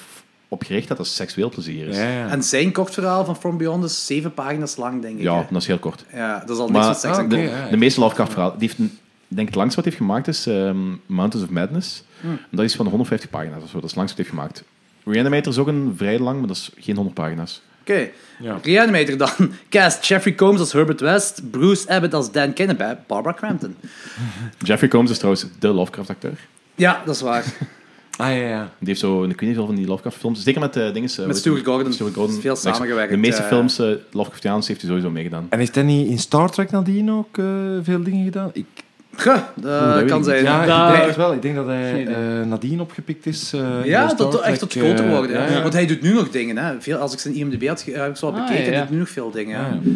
Speaker 3: opgericht dat dat seksueel plezier is.
Speaker 1: Ja,
Speaker 3: Ja,
Speaker 1: ja.
Speaker 5: En zijn kort verhaal van From Beyond is zeven pagina's lang, denk ik. hè.
Speaker 3: dat is heel kort.
Speaker 5: ja dat is al niks
Speaker 3: Maar
Speaker 5: met seks.
Speaker 1: ah,
Speaker 5: en
Speaker 1: oké.
Speaker 5: cool.
Speaker 1: ja.
Speaker 3: de meeste Lovecraft-verhalen, die heeft, een- ik denk het langste wat hij heeft gemaakt is ehm, Mountains of Madness. En dat is van 150 pagina's of zo, dat is het langste wat hij heeft gemaakt. Reanimator is ook een vrij lang, maar dat is geen 100 pagina's.
Speaker 5: Oké.
Speaker 1: Ja.
Speaker 5: Reanimator dan. Cast Jeffrey Combs als Herbert West, Bruce Abbott als Dan Kennebab, Barbara Crampton.
Speaker 3: Jeffrey Combs is trouwens de Lovecraft-acteur.
Speaker 5: Ja, dat is waar.
Speaker 1: Ah, ja, ja.
Speaker 3: Die heeft zo, ik weet niet veel van die Lovecraft-films. Zeker met eh dingen.
Speaker 5: Met Stuart Gordon.
Speaker 3: Stuart Gordon.
Speaker 5: Veel samengewerkt.
Speaker 3: De meeste
Speaker 5: eh.
Speaker 3: films, eh Lovecraftiaans, heeft hij sowieso meegedaan.
Speaker 1: En heeft hij niet in Star Trek nadien ook eh, veel dingen gedaan? Ik,
Speaker 5: Huh, dat
Speaker 3: weet ik
Speaker 5: Eh, kan
Speaker 3: niet.
Speaker 5: zijn.
Speaker 1: ja,
Speaker 5: Nou,
Speaker 2: daar-
Speaker 1: ik denk het wel. Ik denk dat hij
Speaker 2: Geen idee.
Speaker 1: eh, nadien opgepikt is. eh, in
Speaker 5: Ja,
Speaker 1: de Star
Speaker 5: tot, tot- echt
Speaker 1: Trek,
Speaker 5: tot school te
Speaker 1: eh,
Speaker 5: worden. hè.
Speaker 1: ja, ja.
Speaker 5: Want hij doet nu nog dingen. Hè. Veel, als ik zijn IMDb had, ge- heb ik zo wat
Speaker 2: Ah,
Speaker 5: bekeken,
Speaker 2: ja, Ah, ja.
Speaker 5: hij doet nu nog veel dingen.
Speaker 1: Ja,
Speaker 5: hè.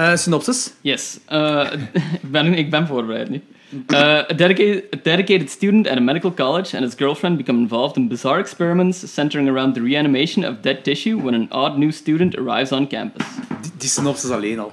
Speaker 1: ja.
Speaker 5: Eh, synopsis?
Speaker 2: Yes. Eh, ik ben, ik ben voorbereid nu. Eh, a, dedicated, a dedicated student at a medical college and his girlfriend become involved in bizarre experiments centering around the reanimation of dead tissue when an odd new student arrives on campus.
Speaker 5: Die, die synopsis alleen al.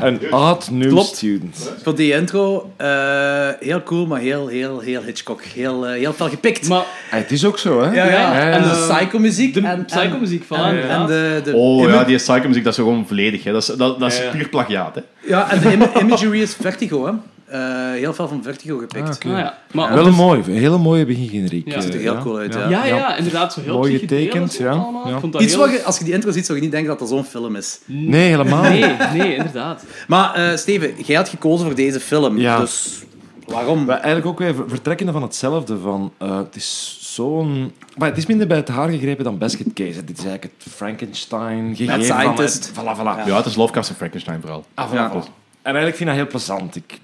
Speaker 1: Een odd new
Speaker 2: Klopt.
Speaker 1: student.
Speaker 5: Voor die intro, eh, heel cool, maar heel, heel, heel Hitchcock. Heel, eh, heel fel gepikt.
Speaker 2: Maar
Speaker 1: Ah, het is ook zo, hè?
Speaker 5: ja, ja.
Speaker 2: ja,
Speaker 5: En de
Speaker 2: eh,
Speaker 5: psycho-muziek.
Speaker 2: de
Speaker 5: en- en-
Speaker 2: psychomuziek van
Speaker 5: En, en
Speaker 2: inderdaad.
Speaker 5: de, de
Speaker 3: Oh ja,
Speaker 5: image-
Speaker 3: die psycho-muziek, dat is gewoon volledig. Hè. Dat is, dat, dat is puur plagiaat. Hè.
Speaker 5: ja, en de im- imagery is Vertigo, hè. Eh, heel veel van Vertigo gepikt.
Speaker 1: Ah, oké.
Speaker 2: Ah, ja. Maar
Speaker 1: Wel een mooi, een hele mooie begingeneriek.
Speaker 2: Ja.
Speaker 1: eh,
Speaker 5: Ziet er heel cool uit, Dus- ja.
Speaker 2: Ja, ja, inderdaad, zo heel
Speaker 1: Mooie
Speaker 2: psychedelisch
Speaker 1: tekens, ja.
Speaker 2: allemaal.
Speaker 1: Ja.
Speaker 2: Ik vond dat
Speaker 5: Iets
Speaker 2: heel-
Speaker 5: wat je- als je die intro ziet, zou je niet denken dat dat zo'n film is.
Speaker 1: Nee, helemaal niet.
Speaker 2: Nee, nee, inderdaad.
Speaker 5: Maar eh, Steven, jij had gekozen voor deze film.
Speaker 1: Ja.
Speaker 5: Dus waarom?
Speaker 1: Maar eigenlijk ook weer ver- vertrekkende van hetzelfde. Van, eh, het is zo'n... Maar het is minder bij het haar gegrepen dan Basket Case. hè. Dit is eigenlijk het Frankenstein gegeven. van
Speaker 5: Scientist.
Speaker 1: het- voilà, voilà.
Speaker 5: Ja.
Speaker 3: Ja. het is Lovecraft en Frankenstein vooral.
Speaker 1: Ah, voilà,
Speaker 5: Ja.
Speaker 1: voilà. En eigenlijk vind ik dat heel plezant. Ik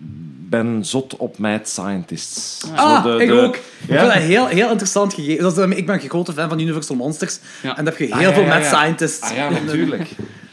Speaker 1: ben zot op mad scientists.
Speaker 5: Ah,
Speaker 1: Zo de-
Speaker 5: ik
Speaker 1: de-
Speaker 5: ook. Ik
Speaker 1: Ja?
Speaker 5: vind dat heel, heel interessant gegeven. Dat is, ehm, ik ben een grote fan van Universal Monsters.
Speaker 2: Ja.
Speaker 5: En dat heb je
Speaker 1: Ah,
Speaker 5: heel
Speaker 1: ja,
Speaker 5: veel
Speaker 1: ja,
Speaker 5: mad
Speaker 1: ja.
Speaker 5: scientists.
Speaker 1: Ah ja, natuurlijk.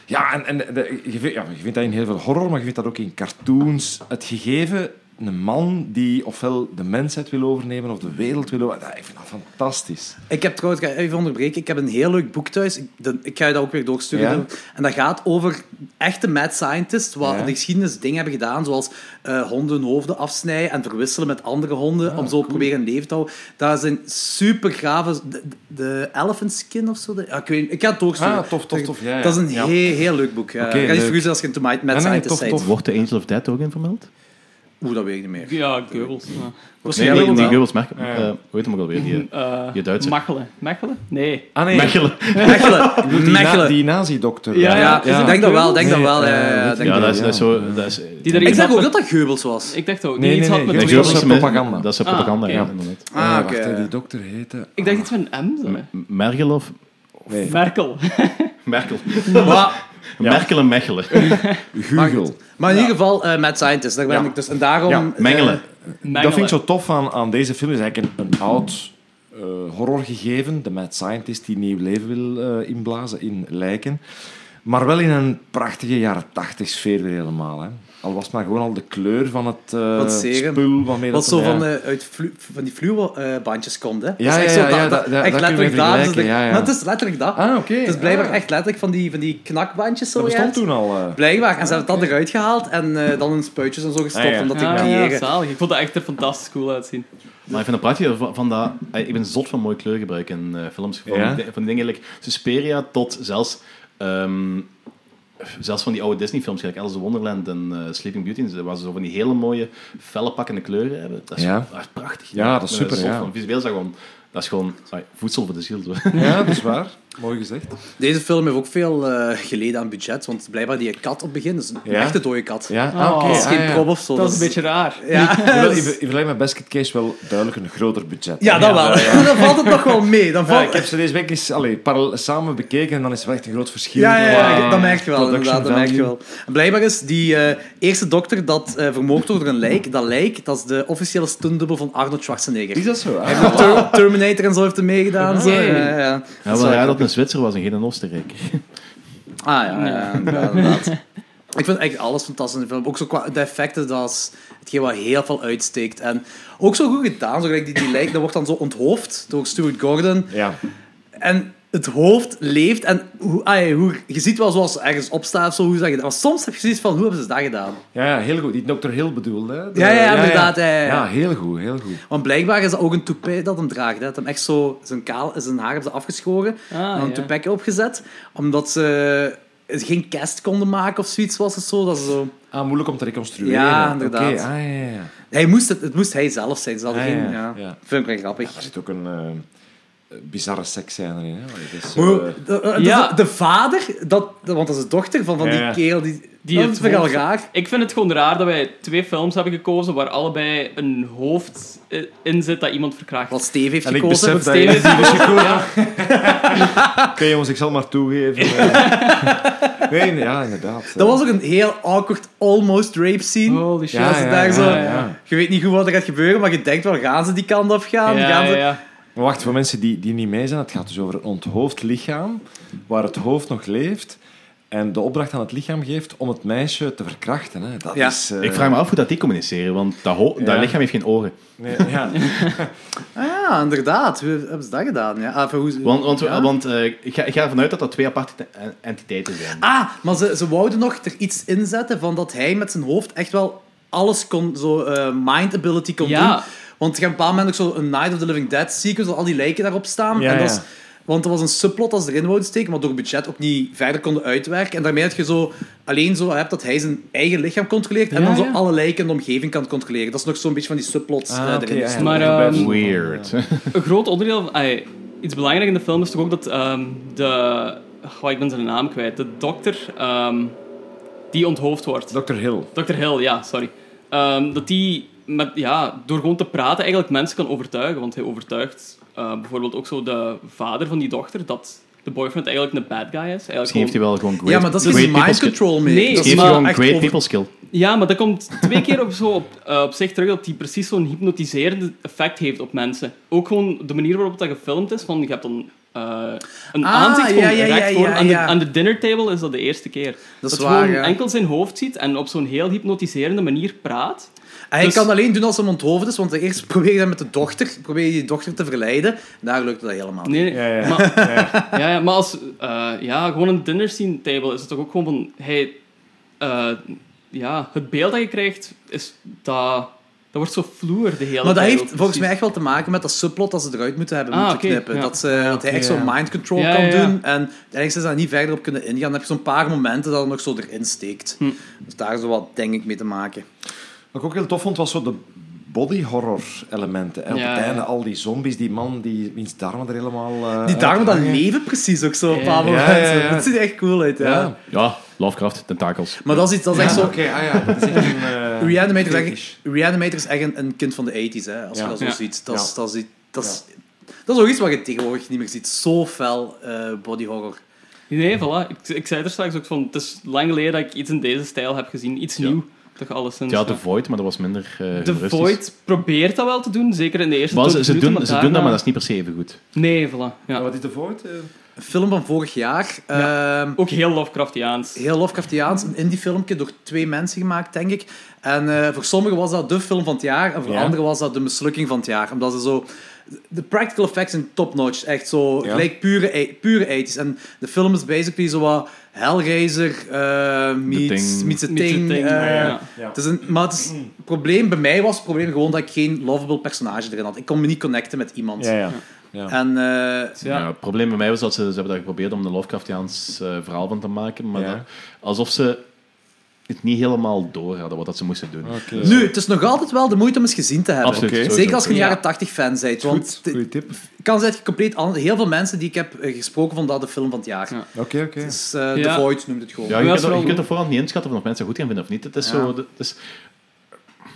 Speaker 1: Ja, en, en de- je, vindt, ja, je vindt dat in heel veel horror, maar je vindt dat ook in cartoons. Het gegeven, een man die ofwel de mensheid wil overnemen of de wereld wil overnemen. Ja, Ik vind dat fantastisch.
Speaker 5: Ik heb trouwens, ik ga even onderbreken, ik heb een heel leuk boek thuis. Ik, de- ik ga je dat ook weer doorsturen.
Speaker 1: Ja?
Speaker 5: En dat gaat over echte mad scientists, wat
Speaker 1: Ja.
Speaker 5: in de geschiedenis dingen hebben gedaan, zoals eh honden hun hoofden afsnijden en verwisselen met andere honden,
Speaker 1: Ah,
Speaker 5: om zo proberen een leven te houden. Dat zijn super grave... De, de elephant skin of zo? De- ja, ik, weet, niet. ik ga het doorsturen.
Speaker 1: Ah, tof, tof, tof. Ja, ja.
Speaker 5: Dat is een
Speaker 1: Ja.
Speaker 5: heel, heel leuk boek. Eh,
Speaker 1: Oké,
Speaker 5: ik ga
Speaker 1: leuk.
Speaker 5: niet vergeten als je een to- mad
Speaker 1: nee,
Speaker 5: scientist
Speaker 1: tof,
Speaker 5: bent.
Speaker 1: tof.
Speaker 3: Wordt de Angel of Death ook in vermeld?
Speaker 5: Oeh, dat weet ik niet meer.
Speaker 2: Ja, Goebbels. Ja.
Speaker 3: Nee, die, die
Speaker 5: wel.
Speaker 3: Goebbels merken. eh hoe heet hem ook alweer? Die,
Speaker 2: Eh,
Speaker 3: Je Duitser.
Speaker 2: Machelen. Mechelen? Nee.
Speaker 1: Ah nee,
Speaker 3: Mechelen.
Speaker 5: Mechelen.
Speaker 1: die, na,
Speaker 5: Mechelen.
Speaker 1: die nazi-dokter.
Speaker 2: Ja,
Speaker 5: Ja,
Speaker 2: ja.
Speaker 5: dus ik denk dat wel, denk dat wel.
Speaker 1: Nee,
Speaker 5: ja, ja,
Speaker 1: eh,
Speaker 5: ja,
Speaker 1: weet
Speaker 5: denk
Speaker 1: ik
Speaker 3: Ja,
Speaker 5: dat-
Speaker 3: dat is, dat is zo... Dat is,
Speaker 2: Die daar
Speaker 5: Ik
Speaker 2: iets
Speaker 5: zag
Speaker 2: had
Speaker 5: ook
Speaker 2: met-
Speaker 5: dat dat Geubels was.
Speaker 2: Ik dacht ook.
Speaker 1: Nee,
Speaker 2: Nee, iets
Speaker 1: nee,
Speaker 2: had met
Speaker 1: nee,
Speaker 3: dat is
Speaker 1: Goebbels is
Speaker 2: Goebbels.
Speaker 1: propaganda.
Speaker 3: Dat is
Speaker 2: Ah.
Speaker 3: propaganda, ja,
Speaker 1: Ja.
Speaker 3: inderdaad.
Speaker 1: Eh,
Speaker 5: Ah,
Speaker 1: wacht,
Speaker 5: oké.
Speaker 1: hè, die dokter heette... Oh,
Speaker 2: Ik dacht iets met een M. zo.
Speaker 3: Merkel of...
Speaker 1: Nee,
Speaker 2: Merkel.
Speaker 3: Merkel.
Speaker 5: Maar,
Speaker 3: Merkel en Mechelen.
Speaker 1: Gugel.
Speaker 5: maar in ieder geval met Mad Scientist, daar ben
Speaker 1: Ja.
Speaker 5: ik dus. En daarom...
Speaker 1: Ja,
Speaker 3: Mengelen.
Speaker 1: Dat vind ik zo tof aan, aan deze film. is eigenlijk een, een oud eh, horrorgegeven. De mad scientist die nieuw leven wil eh, inblazen in lijken. Maar wel in een prachtige jaren tachtig sfeer weer helemaal. Hè. Al was het maar gewoon al de kleur van het eh,
Speaker 5: Wat zeggen.
Speaker 1: spul waarmee
Speaker 5: Wat
Speaker 1: dat...
Speaker 5: zo
Speaker 1: ja.
Speaker 5: van, eh, uit flu- van die fluo-bandjes komt, hè.
Speaker 1: Ja,
Speaker 5: Dat is echt
Speaker 1: ja, ja,
Speaker 5: zo dat-
Speaker 1: ja, dat-
Speaker 5: dat-
Speaker 1: dat
Speaker 5: Echt
Speaker 1: kun je
Speaker 5: letterlijk dat. Dus
Speaker 1: vergelijken,
Speaker 5: dat-
Speaker 1: ja, ja.
Speaker 5: Maar het is letterlijk dat.
Speaker 1: Ah, oké.
Speaker 5: Het is blijkbaar
Speaker 1: Ah,
Speaker 5: echt letterlijk van die, van die knakbandjes zo.
Speaker 1: Dat bestond
Speaker 5: juist.
Speaker 1: toen al. eh.
Speaker 5: Blijkbaar. En ze hebben dat eruit gehaald en eh, dan hun spuitjes en zo gestopt
Speaker 1: Ah, ja.
Speaker 5: om dat te
Speaker 2: ja,
Speaker 5: creëren.
Speaker 2: ja, zalig. Ik vond dat echt er fantastisch cool uitzien.
Speaker 3: Maar ik vind het prachtig van, van dat... eh, Ik ben zot van mooi kleurgebruik in eh, films. Van,
Speaker 1: Ja?
Speaker 3: die, van die dingen like Suspiria tot zelfs... ehm, zelfs van die oude Disney-films, gelijk Alice in Wonderland en eh, Sleeping Beauty, en zo, waar ze zo van die hele mooie, felle pakkende kleuren hebben. Dat is,
Speaker 1: Ja.
Speaker 3: dat is prachtig.
Speaker 1: Ja, dat is
Speaker 3: Ik ben
Speaker 1: super,
Speaker 3: zot
Speaker 1: ja.
Speaker 3: van. Visueel is dat gewoon... Dat is gewoon ai, voedsel voor de ziel. Zo.
Speaker 1: Ja, dat is waar. Mooi gezegd.
Speaker 5: Deze film heeft ook veel eh, geleden aan budget, want blijkbaar die kat op het begin is een
Speaker 1: Ja.
Speaker 5: echte dode kat. Oh,
Speaker 1: Ja,
Speaker 2: Ah,
Speaker 1: ah, oké.
Speaker 5: Dat is geen
Speaker 1: ah, ja.
Speaker 5: prop of zo.
Speaker 2: Dat is een beetje raar.
Speaker 5: Ja,
Speaker 1: Hoewel,
Speaker 5: dat
Speaker 1: in
Speaker 5: is-
Speaker 1: ver- in vergelijking met Basket Case wel duidelijk een groter budget.
Speaker 5: ja, dat wel. Dan valt het nog wel mee. Dan
Speaker 1: Ja,
Speaker 5: valt...
Speaker 1: ik heb ze deze week eens allee, parallel- samen bekeken en dan is er wel echt een groot verschil.
Speaker 5: Ja, ja, ja,
Speaker 1: qua
Speaker 5: dat merk je wel,
Speaker 1: production
Speaker 5: inderdaad. Dat merk
Speaker 1: value.
Speaker 5: je wel. En Blijkbaar is die eh, eerste dokter dat eh vermoord wordt door een lijk, dat lijk, dat is de officiële stuntdubbel van Arnold Schwarzenegger.
Speaker 1: Is dat zo? Ah,
Speaker 5: Ter- Terminator en zo heeft hem meegedaan. Zo.
Speaker 2: Nee.
Speaker 5: Ja, ja.
Speaker 3: Ja, wel raar dat het een Zwitser was en geen een Oostenrijker.
Speaker 5: Ah ja, ja, inderdaad, inderdaad. Ik vind eigenlijk alles fantastisch in de film. Ook zo qua de effecten, dat is hetgeen wat heel veel uitsteekt. En ook zo goed gedaan, zo gelijk die, die lijk, dat wordt dan zo onthoofd door Stuart Gordon.
Speaker 1: Ja.
Speaker 5: En het hoofd leeft en hoe, ah, ja, hoe, je ziet wel zoals ze ergens opstaat of zo, hoe ze dat gedaan. Maar soms heb je zoiets van, hoe hebben ze dat gedaan?
Speaker 1: ja, ja, heel goed. Die Dr. Hill bedoelde. hè? De-
Speaker 5: Ja, ja, inderdaad, ja, ja, ja.
Speaker 1: Ja, heel goed, heel goed.
Speaker 5: Want blijkbaar is dat ook een toupet dat hem draagt. Hè. Dat hem echt zo zijn, kaal, zijn haar hebben ze afgeschoren
Speaker 2: Ah,
Speaker 5: en een
Speaker 2: ja.
Speaker 5: toupetje opgezet. Omdat ze geen cast konden maken of zoiets was het zo. Dat ze zo...
Speaker 1: Ah, moeilijk om te reconstrueren.
Speaker 5: Ja, inderdaad.
Speaker 1: Oké, ah, ja, ja, ja.
Speaker 5: Hij moest het, het moest hij zelf zijn. Ze hadden
Speaker 1: Ah,
Speaker 5: geen,
Speaker 1: ja,
Speaker 5: ja,
Speaker 1: ja.
Speaker 5: Vind ik wel grappig.
Speaker 1: Er zit ook een eh, bizarre seksscène in. Hè? Allee, dat is, eh,
Speaker 5: Hoe- de, eh,
Speaker 2: Ja.
Speaker 5: de, de vader, dat, want dat is de dochter van, van
Speaker 1: Ja.
Speaker 5: die kerel, die,
Speaker 2: Die
Speaker 5: dat
Speaker 2: het
Speaker 5: vind ik al
Speaker 2: hoofd-
Speaker 5: raar.
Speaker 2: Ik vind het gewoon raar dat wij twee films hebben gekozen waar allebei een hoofd eh, in zit dat iemand verkracht.
Speaker 5: Wat Steve heeft
Speaker 1: en ik
Speaker 5: gekozen.
Speaker 1: besef dat je
Speaker 2: Steven
Speaker 1: die dus gekozen hebt. Oké jongens, ik zal maar toegeven. eh. Nee, ja, inderdaad.
Speaker 5: Dat was ook een heel awkward, almost rape scene.
Speaker 2: Holy shit.
Speaker 1: Ja,
Speaker 5: Als het
Speaker 1: ja,
Speaker 5: daar
Speaker 1: ja,
Speaker 5: zo,
Speaker 1: ja.
Speaker 5: Je weet niet goed wat er gaat gebeuren, maar je denkt wel, gaan ze die kant op gaan?
Speaker 2: Ja,
Speaker 5: gaan ze...
Speaker 2: ja, ja.
Speaker 1: Maar wacht, voor mensen die, die niet mee zijn, het gaat dus over een onthoofd lichaam, waar het hoofd nog leeft en de opdracht aan het lichaam geeft om het meisje te verkrachten. Hè. Dat
Speaker 5: Ja.
Speaker 1: is, eh,
Speaker 3: Ik vraag me af hoe dat die communiceren, want dat, ho-
Speaker 1: Ja.
Speaker 3: dat lichaam heeft geen oren.
Speaker 1: nee, ja.
Speaker 5: Ah, inderdaad. Hoe hebben ze dat gedaan? Ja, Ah, van hoe... ze-
Speaker 3: Want, want,
Speaker 5: Ja.
Speaker 3: want eh, ik, ga, ik ga ervan uit dat dat twee aparte te- entiteiten zijn.
Speaker 5: Ah, maar ze, ze wouden nog er iets inzetten van dat hij met zijn hoofd echt wel alles kon, zo eh, mind ability kon
Speaker 2: Ja.
Speaker 5: doen. Want je hebt op een bepaald moment ook zo een Night of the Living Dead sequence, dat al die lijken daarop staan.
Speaker 1: Ja,
Speaker 5: en dat is-
Speaker 1: ja.
Speaker 5: want er was een subplot als ze erin wouden steken, maar door budget ook niet verder konden uitwerken. En daarmee heb je zo alleen zo hebt dat hij zijn eigen lichaam controleert en
Speaker 2: Ja,
Speaker 5: dan zo
Speaker 2: ja.
Speaker 5: alle lijken in de omgeving kan controleren. Dat is nog zo'n beetje van die subplots eh,
Speaker 1: Ah, oké,
Speaker 5: erin.
Speaker 1: ja, ja.
Speaker 2: Maar,
Speaker 1: Erbij
Speaker 2: ehm,
Speaker 1: voelen.
Speaker 3: Weird.
Speaker 2: Een groot onderdeel van... ai, iets belangrijk in de film is toch ook dat ehm, de... Goh, ik ben zijn naam kwijt. De dokter ehm, die onthoofd wordt.
Speaker 1: Dr. Hill.
Speaker 2: Dr. Hill, ja, sorry. Ehm, dat die met, ja, door gewoon te praten eigenlijk mensen kan overtuigen. Want hij overtuigt eh, bijvoorbeeld ook zo de vader van die dochter dat de boyfriend eigenlijk een bad guy is. Eigenlijk
Speaker 3: Misschien heeft hij wel gewoon great,
Speaker 5: Ja, maar dat is
Speaker 3: great
Speaker 5: geen mind
Speaker 3: people skill.
Speaker 5: control meer.
Speaker 2: Nee,
Speaker 5: dat
Speaker 3: Misschien
Speaker 5: is
Speaker 3: heeft hij
Speaker 2: maar
Speaker 3: gewoon
Speaker 5: echt
Speaker 3: great
Speaker 5: over-
Speaker 3: people skill.
Speaker 2: Ja, maar dat komt twee keer op, zo op, eh, op zich terug dat hij precies zo'n hypnotiserend effect heeft op mensen. Ook gewoon de manier waarop dat gefilmd is. Van, je hebt dan eh, een
Speaker 5: Ah,
Speaker 2: aanzicht van
Speaker 5: ja, ja,
Speaker 2: recht
Speaker 5: ja,
Speaker 2: voor.
Speaker 5: ja,
Speaker 2: aan,
Speaker 5: ja.
Speaker 2: De, aan de dinner table is dat de eerste keer.
Speaker 5: Dat is
Speaker 2: je
Speaker 5: waar,
Speaker 2: gewoon
Speaker 5: ja.
Speaker 2: enkel zijn hoofd ziet en op zo'n heel hypnotiserende manier praat.
Speaker 5: En Hij
Speaker 2: Dus-
Speaker 5: kan alleen doen als hem onthoofd is, want eerst probeer je dat met de dochter, probeer je die dochter te verleiden. Daar lukt dat helemaal niet.
Speaker 2: Nee, nee,
Speaker 1: Ja, ja.
Speaker 2: Maar, ja, ja, maar als eh, ja, gewoon een dinner scene table is het toch ook gewoon van... Hey, eh, ja, het beeld dat je krijgt, is dat, dat wordt zo vloer de hele
Speaker 5: Maar dat
Speaker 2: tijd.
Speaker 5: heeft
Speaker 2: ook
Speaker 5: volgens
Speaker 2: precies.
Speaker 5: mij echt wel te maken met dat subplot dat ze eruit moeten hebben
Speaker 2: Ah,
Speaker 5: moeten
Speaker 2: oké,
Speaker 5: knippen.
Speaker 2: ja.
Speaker 5: Dat, ze, dat hij echt
Speaker 1: Oké,
Speaker 5: zo'n
Speaker 1: ja.
Speaker 5: mind control
Speaker 2: Ja,
Speaker 5: kan
Speaker 2: ja, ja.
Speaker 5: doen. En uiteindelijk zijn ze daar niet verder op kunnen ingaan. Dan heb je zo'n paar momenten dat het nog zo erin steekt.
Speaker 2: Hm.
Speaker 5: Dus daar is wel wat, denk ik, mee te maken.
Speaker 1: Wat ik ook heel tof vond, was zo de body horror elementen. En op
Speaker 2: Ja,
Speaker 1: het einde
Speaker 2: ja.
Speaker 1: al die zombies, die man, die, wiens darmen er helemaal... eh,
Speaker 5: Die daarom dat
Speaker 1: uithangen.
Speaker 5: leven precies ook zo op een
Speaker 2: Ja.
Speaker 5: paar
Speaker 1: Ja, ja,
Speaker 5: momenten.
Speaker 1: ja.
Speaker 5: Dat ziet er echt cool uit, ja.
Speaker 1: Ja.
Speaker 3: Ja, Lovecraft, tentakels.
Speaker 5: Maar dat is, iets, dat is echt
Speaker 1: Ja,
Speaker 5: zo...
Speaker 1: Oké, ah ja, dat is echt een... eh,
Speaker 5: Reanimator is
Speaker 1: fetish.
Speaker 5: echt, Reanimator is echt een, een kind van de 80s, hè, als
Speaker 1: Ja.
Speaker 5: je dat zo
Speaker 2: Ja.
Speaker 5: ziet. Dat is,
Speaker 1: Ja.
Speaker 5: dat, is, iets- dat, is, dat is ook iets wat je tegenwoordig niet meer ziet. Zo fel eh, body horror.
Speaker 2: Nee, voilà. Ik, ik zei er straks ook van, het is lang geleden dat ik iets in deze stijl heb gezien. Iets
Speaker 3: Ja.
Speaker 2: nieuw, toch alleszins.
Speaker 3: Ja, The Void, maar dat was minder eh
Speaker 2: De
Speaker 3: humoristisch.
Speaker 2: Void probeert dat wel te doen, zeker in de eerste
Speaker 3: Maar ze,
Speaker 2: twintig
Speaker 3: ze, doen,
Speaker 2: minuten,
Speaker 3: ze doen dat, maar
Speaker 2: daarna-
Speaker 3: dat is niet per se even goed.
Speaker 2: Nee, voilà. Ja.
Speaker 1: Wat is de voort? eh?
Speaker 5: Een film van vorig jaar. Ehm,
Speaker 2: Ook heel Lovecraftiaans.
Speaker 5: heel Lovecraftiaans, een indie filmpje door twee mensen gemaakt, denk ik. En eh, voor sommigen was dat de film van het jaar, en voor
Speaker 3: Ja.
Speaker 5: anderen was dat de mislukking van het jaar. Omdat ze zo... De practical effects zijn top-notch, echt zo,
Speaker 1: Ja.
Speaker 5: gelijk pure, ei- pure 80s. En de film is basically zo wat Hellraiser eh meets,
Speaker 3: Thing.
Speaker 5: meets The Thing.
Speaker 2: Niet zo'n ding, maar
Speaker 5: eh,
Speaker 2: ja.
Speaker 5: het is een, maar het, is, het probleem bij mij was het probleem gewoon dat ik geen lovable personage erin had. Ik kon me niet connecten met iemand.
Speaker 1: ja.
Speaker 5: En eh,
Speaker 3: Ja. het probleem bij mij was dat ze, ze hebben daar geprobeerd om een Lovecraftiaans eh, verhaal van te maken, maar
Speaker 1: Ja.
Speaker 3: dat- alsof ze het niet helemaal door hadden wat dat ze moesten doen.
Speaker 5: nu, het is nog altijd wel de moeite om eens gezien te hebben.
Speaker 3: Absoluut.
Speaker 1: Oké.
Speaker 3: sowieso.
Speaker 5: Zeker als je een jaren 80 fan bent. Want de-
Speaker 1: Goeie tip.
Speaker 5: kan zijn dat je compleet anders. Heel veel mensen die ik heb eh, gesproken van dat de film van het jaar.
Speaker 2: Ja.
Speaker 1: Oké, oké.
Speaker 5: Dus, eh, The
Speaker 2: Ja.
Speaker 5: Void noemt het gewoon.
Speaker 3: Ja,
Speaker 2: Ja,
Speaker 3: je,
Speaker 2: dat is
Speaker 3: kunt, er-
Speaker 2: wel
Speaker 3: je kunt er
Speaker 2: goed.
Speaker 3: voorhand niet inschatten of mensen goed gaan vinden of niet. Het is
Speaker 5: Ja.
Speaker 3: zo... de- Het is,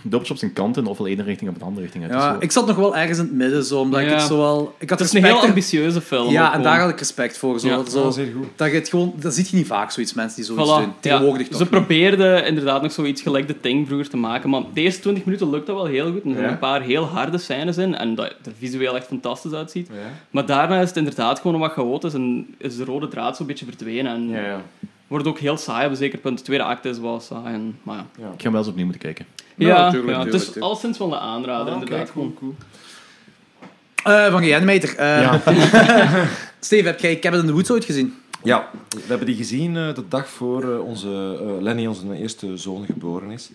Speaker 3: Doops op zijn kanten, ofwel de ene richting of de andere richting. Het is
Speaker 5: Ja,
Speaker 3: zo-
Speaker 5: ik zat nog wel ergens in het midden, zo, omdat ik
Speaker 2: Ja.
Speaker 5: het zo wel... Ik had
Speaker 2: Het is een
Speaker 5: respect
Speaker 2: heel
Speaker 5: er-
Speaker 2: ambitieuze film. ook
Speaker 5: Ja, en
Speaker 2: gewoon.
Speaker 5: daar had ik respect voor. Zo,
Speaker 2: Ja.
Speaker 5: dat,
Speaker 1: Dat
Speaker 5: zo,
Speaker 1: was heel goed.
Speaker 5: dat, je het gewoon, dat zie je niet vaak, zoiets mensen die zoiets
Speaker 2: Voilà,
Speaker 5: doen.
Speaker 2: ja.
Speaker 5: Tegenwoordig toch.
Speaker 2: Ze probeerden inderdaad nog zoiets gelijk de Thing vroeger te maken, maar de eerste 20 minuten lukt dat wel heel goed. En er zijn
Speaker 1: Ja.
Speaker 2: een paar heel harde scènes in en dat het er visueel echt fantastisch uitziet.
Speaker 1: Ja.
Speaker 2: Maar daarna is het inderdaad gewoon wat chaotisch en is de rode draad zo'n beetje verdwenen. En
Speaker 1: Ja, ja.
Speaker 2: wordt ook heel saai op een zeker punt. De tweede acte is wel saai. En, maar ja.
Speaker 3: Ik ga hem wel eens opnieuw moeten kijken.
Speaker 5: Ja,
Speaker 2: Ja,
Speaker 5: tuurlijk,
Speaker 2: ja, het
Speaker 5: tuurlijk,
Speaker 2: is
Speaker 5: tuurlijk.
Speaker 2: alleszins wel een aanrader, inderdaad.
Speaker 1: cool, cool.
Speaker 5: Eh, van Genmeter. eh Steve, heb jij Cabin in the Woods ooit gezien?
Speaker 1: Ja, we hebben die gezien eh, de dag voor eh, onze, eh, Lenny, onze eerste zoon, geboren is.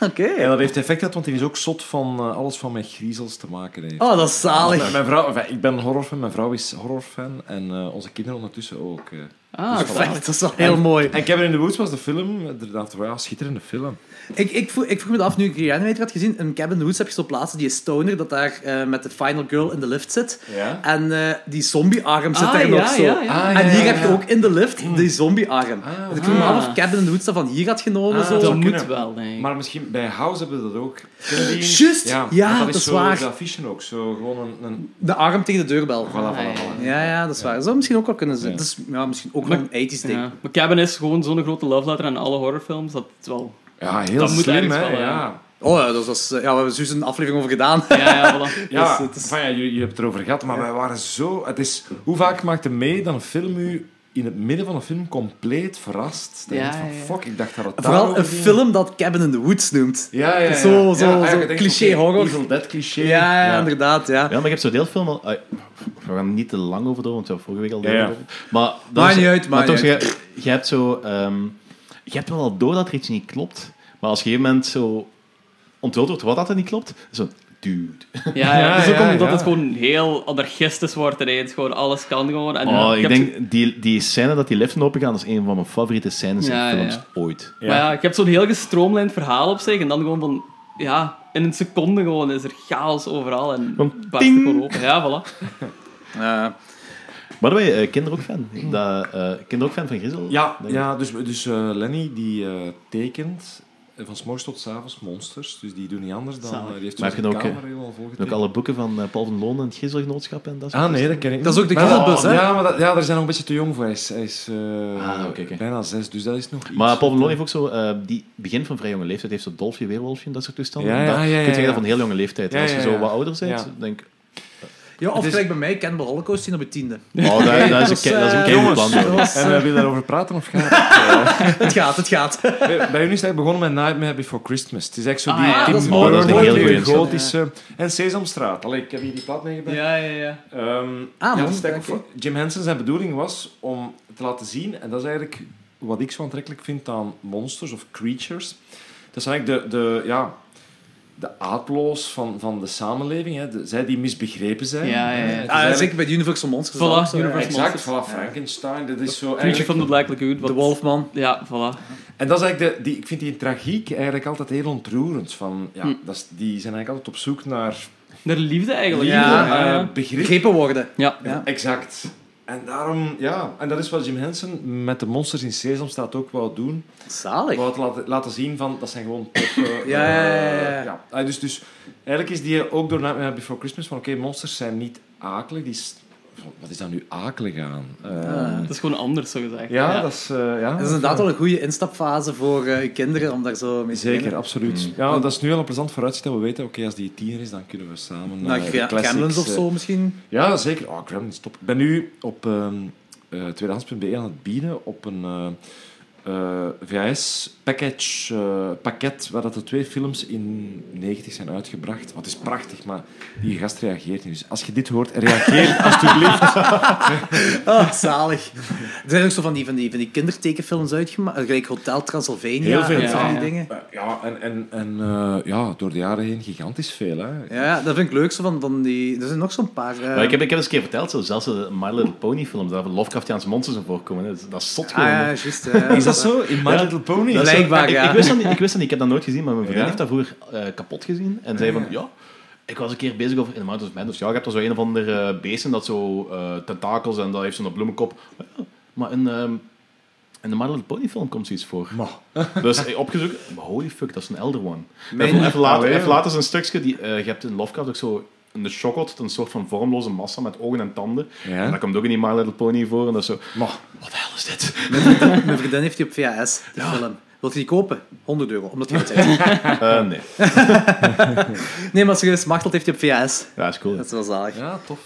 Speaker 5: Oké.
Speaker 1: En dat heeft effect gehad, want hij is ook zot van eh, alles van met griezels te maken heeft.
Speaker 5: Oh, dat is zalig.
Speaker 1: Mijn, mijn vrouw, enfin, ik ben een horrorfan, mijn vrouw is horrorfan en eh, onze kinderen ondertussen ook. eh.
Speaker 2: Ah,
Speaker 1: Dus voilà.
Speaker 5: Perfect, dat is wel heel mooi.
Speaker 1: En Cabin in the Woods was de film, inderdaad, wel een schitterende film.
Speaker 5: Ik, ik, vroeg, ik vroeg me dat af, nu ik Reanimator had gezien, in Cabin in the Woods heb je zo'n plaatsen, die stoner, dat daar eh, met de final girl in de lift zit.
Speaker 1: Ja?
Speaker 5: En eh, die zombiearm zit
Speaker 2: Ah,
Speaker 5: daar
Speaker 2: ja,
Speaker 5: nog zo.
Speaker 2: ja, ja.
Speaker 1: Ah,
Speaker 5: en
Speaker 1: ja,
Speaker 5: hier
Speaker 1: ja,
Speaker 5: heb je
Speaker 1: ja.
Speaker 5: ook in de lift die zombiearm.
Speaker 1: Ah,
Speaker 5: dus ik vroeg me
Speaker 2: ah.
Speaker 5: af of Cabin in the Woods dat van hier had genomen.
Speaker 1: Ah,
Speaker 5: zo.
Speaker 1: dat
Speaker 2: Dat
Speaker 1: zou
Speaker 2: moet
Speaker 1: kunnen.
Speaker 2: wel, denk ik.
Speaker 1: Maar misschien bij House hebben we dat ook. Kennen die?
Speaker 5: Juist, ja,
Speaker 1: want
Speaker 5: dat is
Speaker 1: zo,
Speaker 5: waar.
Speaker 1: De affiche ook, zo gewoon een... een
Speaker 5: De arm tegen de deurbel.
Speaker 1: voilà, voilà,
Speaker 2: ja,
Speaker 1: voilà.
Speaker 5: Ah, Ja, ja, dat is waar. Dat zou misschien ook wel kunnen zijn. Dat is ja, misschien ook wel een 80s ding.
Speaker 2: Ja. Maar Cabin is gewoon zo'n grote love letter aan alle horrorfilms, dat het wel...
Speaker 1: Ja, heel
Speaker 2: Dat moet
Speaker 1: slim,
Speaker 2: ergens
Speaker 1: hè.
Speaker 2: wel, ja.
Speaker 1: ja.
Speaker 5: Oh ja, dat was, eh, ja, we hebben zojuist een aflevering over gedaan.
Speaker 2: Ja, ja, voilà.
Speaker 1: Ja,
Speaker 5: Dus het is-
Speaker 1: van ja, jullie, jullie hebben het erover gehad, maar wij waren zo... Het is, hoe vaak maakt het mee dat een film u in het midden van een film compleet verrast? Dat je
Speaker 2: Ja,
Speaker 1: denkt van,
Speaker 2: ja, ja.
Speaker 1: fuck, ik dacht dat het
Speaker 5: Vooral
Speaker 1: daarover
Speaker 5: een
Speaker 1: ging.
Speaker 5: film dat Cabin in the Woods noemt.
Speaker 1: Ja, ja, ja.
Speaker 5: Zo- zo- zo
Speaker 1: eigenlijk denk je,
Speaker 5: cliché
Speaker 1: oké,
Speaker 5: horror.
Speaker 1: Evil Dead cliché.
Speaker 5: Ja, ja, inderdaad, ja.
Speaker 3: Ja, maar ik heb zo'n deelfilm al... ai, we gaan niet te lang over door, want we hebben vorige week al
Speaker 1: Ja, ja.
Speaker 3: over. Maar dat
Speaker 5: Maakt
Speaker 3: is-
Speaker 5: niet uit, maakt
Speaker 3: toch,
Speaker 5: niet
Speaker 3: je, je hebt zo... ehm, je hebt wel al door dat er iets niet klopt, maar als je op een gegeven moment zo onthuld wordt wat dat er niet klopt, zo... Dude.
Speaker 2: Ja, ja,
Speaker 1: Ja,
Speaker 2: het is ook
Speaker 1: ja,
Speaker 2: omdat
Speaker 1: ja.
Speaker 2: het gewoon heel anarchistisch wordt ineens. Gewoon alles kan gewoon. En eh,
Speaker 3: Oh, ik
Speaker 2: heb
Speaker 3: denk, die, die scène dat die liften opengaan, dat is een van mijn favoriete scènes
Speaker 2: Ja,
Speaker 3: in films
Speaker 2: ja.
Speaker 3: ooit.
Speaker 2: zo- maar ja, ik heb zo'n heel gestroomlijnd verhaal op zich. En dan gewoon van... Ja, in een seconde gewoon is er chaos overal. En
Speaker 3: Gewoon
Speaker 2: barst het gewoon open. Ja, voilà.
Speaker 5: Eh,
Speaker 3: Maar ben je eh, kinderen ook fan? Dat, eh, kinderen ook fan van Griezel?
Speaker 1: Ja,
Speaker 3: denk ik.
Speaker 1: ja dus, dus eh, Lenny die eh, tekent eh, van s'morgens tot s'avonds monsters. Dus die doen niet anders dan... eh,
Speaker 2: Zalig.
Speaker 1: die heeft
Speaker 3: Maar
Speaker 1: zo'n
Speaker 3: heb je dan ook,
Speaker 1: kamer helemaal
Speaker 3: En ook
Speaker 1: volgetekend.
Speaker 3: alle boeken van eh, Paul van Loon en het Griezelgenootschap en dat soort
Speaker 1: Ah nee, dat ken ik
Speaker 5: Dat
Speaker 1: niet.
Speaker 5: is ook
Speaker 1: Maar-
Speaker 5: de Griezelbus, hè?
Speaker 1: Ja, maar dat, ja, daar zijn nog een beetje te jong voor. Hij is, hij is eh,
Speaker 3: Ah, oké, oké.
Speaker 1: bijna zes, dus dat is nog iets.
Speaker 3: Maar Paul van Loon heeft ook zo, eh, die begin van vrij jonge leeftijd, heeft zo dolfje, weerwolfje en dat soort toestanden.
Speaker 1: Ja, ja,
Speaker 3: En dat-
Speaker 1: ja, ja,
Speaker 3: kun je zeggen
Speaker 1: ja.
Speaker 3: dat van heel jonge leeftijd. En
Speaker 1: Ja,
Speaker 3: als je
Speaker 1: ja,
Speaker 3: zo
Speaker 1: ja.
Speaker 3: wat ouder bent,
Speaker 1: Ja.
Speaker 3: denk ik,
Speaker 5: ja, of
Speaker 1: Het is-
Speaker 5: gelijk bij mij, Cannibal Holocaust zien op het tiende.
Speaker 3: oh, daar, daar is een,
Speaker 1: eh,
Speaker 3: ke-
Speaker 2: eh,
Speaker 3: dat is een keihard plan.
Speaker 5: dat
Speaker 3: hoor.
Speaker 5: was,
Speaker 1: En eh, wil je daarover praten of gaat het?
Speaker 5: Het gaat, het gaat.
Speaker 1: Eh, bij, bij hun is hij begonnen met Nightmare Before Christmas. Het is echt zo die
Speaker 2: Ah, ja,
Speaker 1: Tim
Speaker 2: dat is
Speaker 1: Burton,
Speaker 3: mooi. Oh, dat is een heel
Speaker 1: die
Speaker 3: goeie film.
Speaker 1: gotische... En Sesamstraat. Allee, ik heb hier die plaat meegebracht.
Speaker 2: Ja, ja, ja. Oh,
Speaker 1: Ehm,
Speaker 5: Ah,
Speaker 1: ja,
Speaker 5: man,
Speaker 1: Stack of-
Speaker 5: oké.
Speaker 1: Jim Henson zijn bedoeling was om te laten zien, en dat is eigenlijk wat ik zo aantrekkelijk vind aan monsters of creatures. Dat zijn eigenlijk de, de, ja, de aaploos van, van de samenleving. Hè. De- zij die misbegrepen zijn.
Speaker 2: Ja, ja, ja.
Speaker 1: Het is
Speaker 2: Ah,
Speaker 5: Ah,
Speaker 1: eigenlijk-
Speaker 5: zeker bij de Universal Monsters.
Speaker 2: Voilà,
Speaker 5: ook zo, ja.
Speaker 2: Universal
Speaker 1: Exact,
Speaker 2: Monsters.
Speaker 1: voilà, Frankenstein. Dat is zo
Speaker 2: Creature
Speaker 1: eigenlijk...
Speaker 2: from the Black Lagoon. wat-
Speaker 5: De Wolfman.
Speaker 2: Ja, voilà.
Speaker 1: En dat is eigenlijk de, die, ik vind die tragiek eigenlijk altijd heel ontroerend. Van, ja,
Speaker 2: Hm.
Speaker 1: dat is, die zijn eigenlijk altijd op zoek naar
Speaker 2: Naar liefde eigenlijk.
Speaker 5: Ja,
Speaker 1: liefde,
Speaker 2: ja, ja.
Speaker 1: eh, begrip.
Speaker 5: Begrepen worden.
Speaker 2: Ja.
Speaker 5: Ja.
Speaker 1: Exact. En daarom, ja, en dat is wat Jim Henson met de monsters in Sesamstraat ook wou doen.
Speaker 5: Zalig.
Speaker 1: Wou het laten, laten zien van, dat zijn gewoon toffe...
Speaker 5: Ja, ja, ja, ja.
Speaker 1: eh, Ah, Dus, dus eigenlijk is die ook door Nightmare Before Christmas van, oké, monsters zijn niet akelig. Die is, wat is daar nu akelig aan? Eh,
Speaker 5: Ah.
Speaker 2: Dat is gewoon anders, zo gezegd.
Speaker 1: ja, dat is... eh, ja,
Speaker 5: Dat is inderdaad wel een goede instapfase voor eh, je kinderen om daar zo mee te
Speaker 1: Zeker,
Speaker 5: beginnen.
Speaker 1: absoluut.
Speaker 5: Mm.
Speaker 1: Ja, dat is nu al een plezant vooruitzicht dat we weten, oké, als die tiener is, dan kunnen we samen... eh,
Speaker 5: Nou,
Speaker 1: de
Speaker 5: Gra-
Speaker 1: classics,
Speaker 5: Gremlins of
Speaker 1: eh,
Speaker 5: zo misschien.
Speaker 1: Ja, zeker. Oh, Gremlins, top. Ik ben nu op ehm, eh, tweedehands.be aan het bieden op een eh, VHS-package, eh, pakket, waar dat de twee films in 90 zijn uitgebracht. Want het is prachtig, maar die gast reageert niet. Dus als je dit hoort, reageer alsjeblieft.
Speaker 5: Ah, zalig. Er zijn ook zo van die, van die, van die kindertekenfilms uitgemaakt. eh, Gelijk Hotel Transylvania
Speaker 1: Heel veel,
Speaker 5: en zo van die
Speaker 2: ja.
Speaker 5: dingen.
Speaker 1: Eh, ja, en, en, en eh, ja, door de jaren heen gigantisch veel. Hè.
Speaker 5: Ja, ja, dat vind ik leuk. Zo van, van die, er zijn nog zo'n paar... eh,
Speaker 3: Maar ik, heb, ik heb eens een keer verteld, zo, zelfs de My Little Pony film, daar Lovecraftiaanse monsters in voorkomen. Hè. Dat is- Dat is zot
Speaker 5: Ah
Speaker 3: gewoon. hè.
Speaker 5: ja, juist. eh,
Speaker 1: Is dat zo? In My
Speaker 3: Ja.
Speaker 1: Little Pony?
Speaker 3: Dat is zo-
Speaker 5: Blijkbaar,
Speaker 3: ik,
Speaker 5: ja.
Speaker 3: ik, wist dat niet, ik wist dat niet, ik heb dat nooit gezien, maar mijn vriendin
Speaker 1: Ja?
Speaker 3: heeft dat vroeger eh, kapot gezien. En zei van, ja, ik was een keer bezig over in de Mountains of Madness. dus Ja, je hebt er zo een of ander eh, beest en dat zo eh, tentakels en dat heeft zo'n bloemenkop. Ja, maar in, ehm, in de My Little Pony film komt zoiets voor. Dus ik opgezocht, maar holy fuck, dat is een Elder One.
Speaker 5: Meen
Speaker 3: Even,
Speaker 5: je?
Speaker 3: even
Speaker 1: Ah,
Speaker 3: later, even later is een stukje, die, eh, je hebt in Lovecraft ook zo... Een Shockout, een soort van vormloze massa met ogen en tanden.
Speaker 1: Ja.
Speaker 3: En dat komt ook in die My Little Pony voor. En dat is zo, wat de hel is dit?
Speaker 5: Mijn vriendin heeft die op VHS, die film. Wilt je die kopen? 100 euro, omdat hij het heeft.
Speaker 3: Eh, nee,
Speaker 5: Nee, maar serieus, Machteld heeft die op VHS.
Speaker 3: ja, is cool.
Speaker 5: Dat is wel zalig.
Speaker 1: Ja, tof.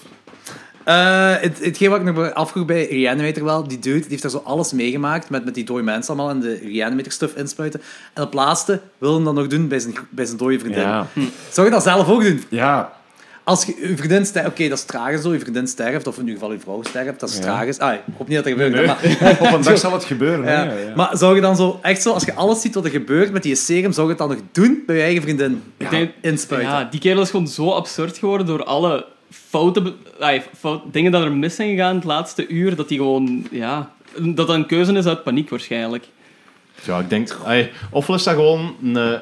Speaker 5: Eh, het, hetgeen wat ik nog afvroeg bij Reanimator wel, die dude die heeft daar zo alles meegemaakt met, met die dode mensen allemaal en de Reanimator stuff inspuiten. En op laatste wil hem dat nog doen bij zijn, bij zijn dode vriendin.
Speaker 1: Ja.
Speaker 5: Zou je dat zelf ook doen?
Speaker 1: Ja,
Speaker 5: Als je, je vriendin sterft, oké, dat is tragisch zo, je vriendin sterft, of in ieder geval je vrouw sterft, dat is tragisch. Ah, ik hoop niet dat er gebeurt, maar...
Speaker 1: op een dag zal het gebeuren.
Speaker 5: Ja.
Speaker 1: hè. Ja, ja.
Speaker 5: Maar zou je dan zo, echt zo, als je alles ziet wat er gebeurt met die serum, zou je het dan nog doen bij je eigen vriendin?
Speaker 2: Ik denk-
Speaker 5: Inspuiten.
Speaker 2: Ja, die kerel is gewoon zo absurd geworden door alle fouten, be- ay, fout, dingen dat er mis zijn gegaan het laatste uur, dat hij gewoon, ja, dat dat een keuze is uit paniek waarschijnlijk.
Speaker 3: Ja, ik denk... Ey, ofwel is dat gewoon een, eh,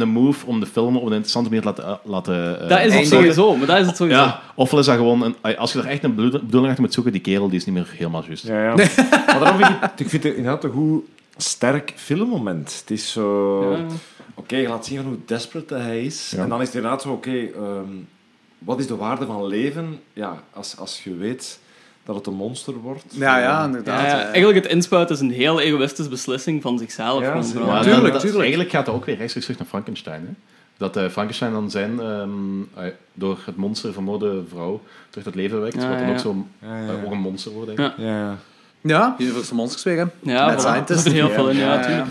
Speaker 3: een move om de film op een interessante manier te laten... eh, laten eh,
Speaker 2: dat is het
Speaker 5: eindelijk.
Speaker 2: sowieso, maar dat is het sowieso.
Speaker 3: Ja, ofwel is dat gewoon... Een, ey, als je er echt een bedoel- bedoeling achter moet zoeken, die kerel die is niet meer helemaal juist.
Speaker 1: Ja, ja. maar daarom vind ik, het- ik vind het inderdaad een goed sterk filmmoment. Het is zo...
Speaker 2: Ja.
Speaker 1: Oké, je laat zien van hoe desperate dat hij is. En dan is het inderdaad zo, oké, ehm, wat is de waarde van leven? Ja, als, als je weet dat het een monster wordt.
Speaker 5: Ja, ja,
Speaker 1: Ehm,
Speaker 5: inderdaad.
Speaker 2: Ja, ja,
Speaker 5: eh.
Speaker 2: eigenlijk het inspuiten is een heel egoïstische beslissing van zichzelf.
Speaker 1: Ja,
Speaker 2: gewoon
Speaker 1: zeker.
Speaker 2: vooral.
Speaker 3: Maar
Speaker 5: tuurlijk,
Speaker 3: dat- dat-
Speaker 5: tuurlijk.
Speaker 3: Eigenlijk gaat dat ook weer rechtstreeks terug naar Frankenstein. Hè? Dat eh, Frankenstein dan zijn ehm, ey, door het monster vermoorde vrouw terug tot leven wekt.
Speaker 2: Ja,
Speaker 3: wat dan
Speaker 2: ja.
Speaker 3: ook zo
Speaker 1: Ja,
Speaker 3: eh,
Speaker 1: ja.
Speaker 3: ook een monster wordt, denk
Speaker 2: Ja.
Speaker 3: ik.
Speaker 1: Ja,
Speaker 5: Ja, Universal Monsters weer, hè.
Speaker 2: Ja,
Speaker 5: Mad
Speaker 2: voilà.
Speaker 5: Scientist.
Speaker 2: Er zit er heel veel in, ja,
Speaker 5: Ja,
Speaker 2: tuurlijk.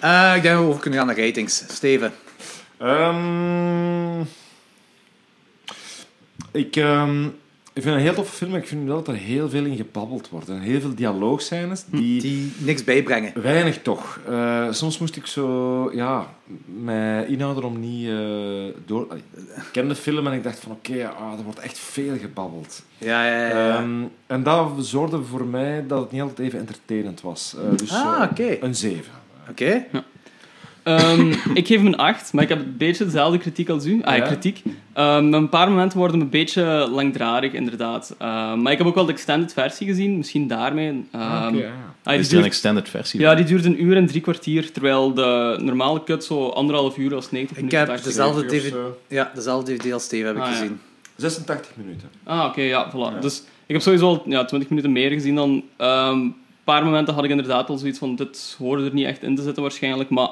Speaker 5: ja. Eh, ik denk dat we over kunnen gaan naar ratings. Steven.
Speaker 1: Ehm, ik, ehm, ik vind het een heel toffe film, maar ik vind wel dat er heel veel in gebabbeld wordt. En heel veel dialoogscènes
Speaker 5: Hm.
Speaker 1: die...
Speaker 5: Die niks bijbrengen.
Speaker 1: Weinig toch. Eh, soms moest ik zo, ja, mij inhouden om niet eh, door. Allee, Ik ken de film en ik dacht van oké, ah, er wordt echt veel gebabbeld.
Speaker 5: Ja, ja, ja. ja.
Speaker 1: Ehm, en dat zorgde voor mij dat het niet altijd even entertainend was. Eh, dus
Speaker 5: Ah,
Speaker 1: eh,
Speaker 5: oké.
Speaker 1: een 7.
Speaker 5: Oké.
Speaker 2: Ehm, ik geef hem een 8, maar ik heb een beetje dezelfde kritiek als u. Ah,
Speaker 1: Ja?
Speaker 2: kritiek. Ehm, een paar momenten worden me een beetje langdradig, inderdaad. Ehm, maar ik heb ook wel de extended versie gezien, misschien daarmee. Ehm, ah, die
Speaker 3: Is er
Speaker 2: duurt-
Speaker 3: een extended versie?
Speaker 2: ja, die duurt een uur en drie kwartier, terwijl de normale cut zo anderhalf uur was, 90
Speaker 5: Ik
Speaker 2: minuten.
Speaker 5: heb
Speaker 2: 80
Speaker 5: dezelfde
Speaker 1: minuten of
Speaker 5: DVD,
Speaker 1: zo.
Speaker 5: ja, dezelfde DVD als Steven heb ik
Speaker 2: Ah, ja.
Speaker 5: gezien.
Speaker 1: 86 minuten.
Speaker 2: Ah, oké, ja, voilà. Dus ik heb sowieso al ja, 20 minuten meer gezien dan... ehm, een paar momenten had ik inderdaad al zoiets van, dit hoorde er niet echt in te zitten waarschijnlijk, maar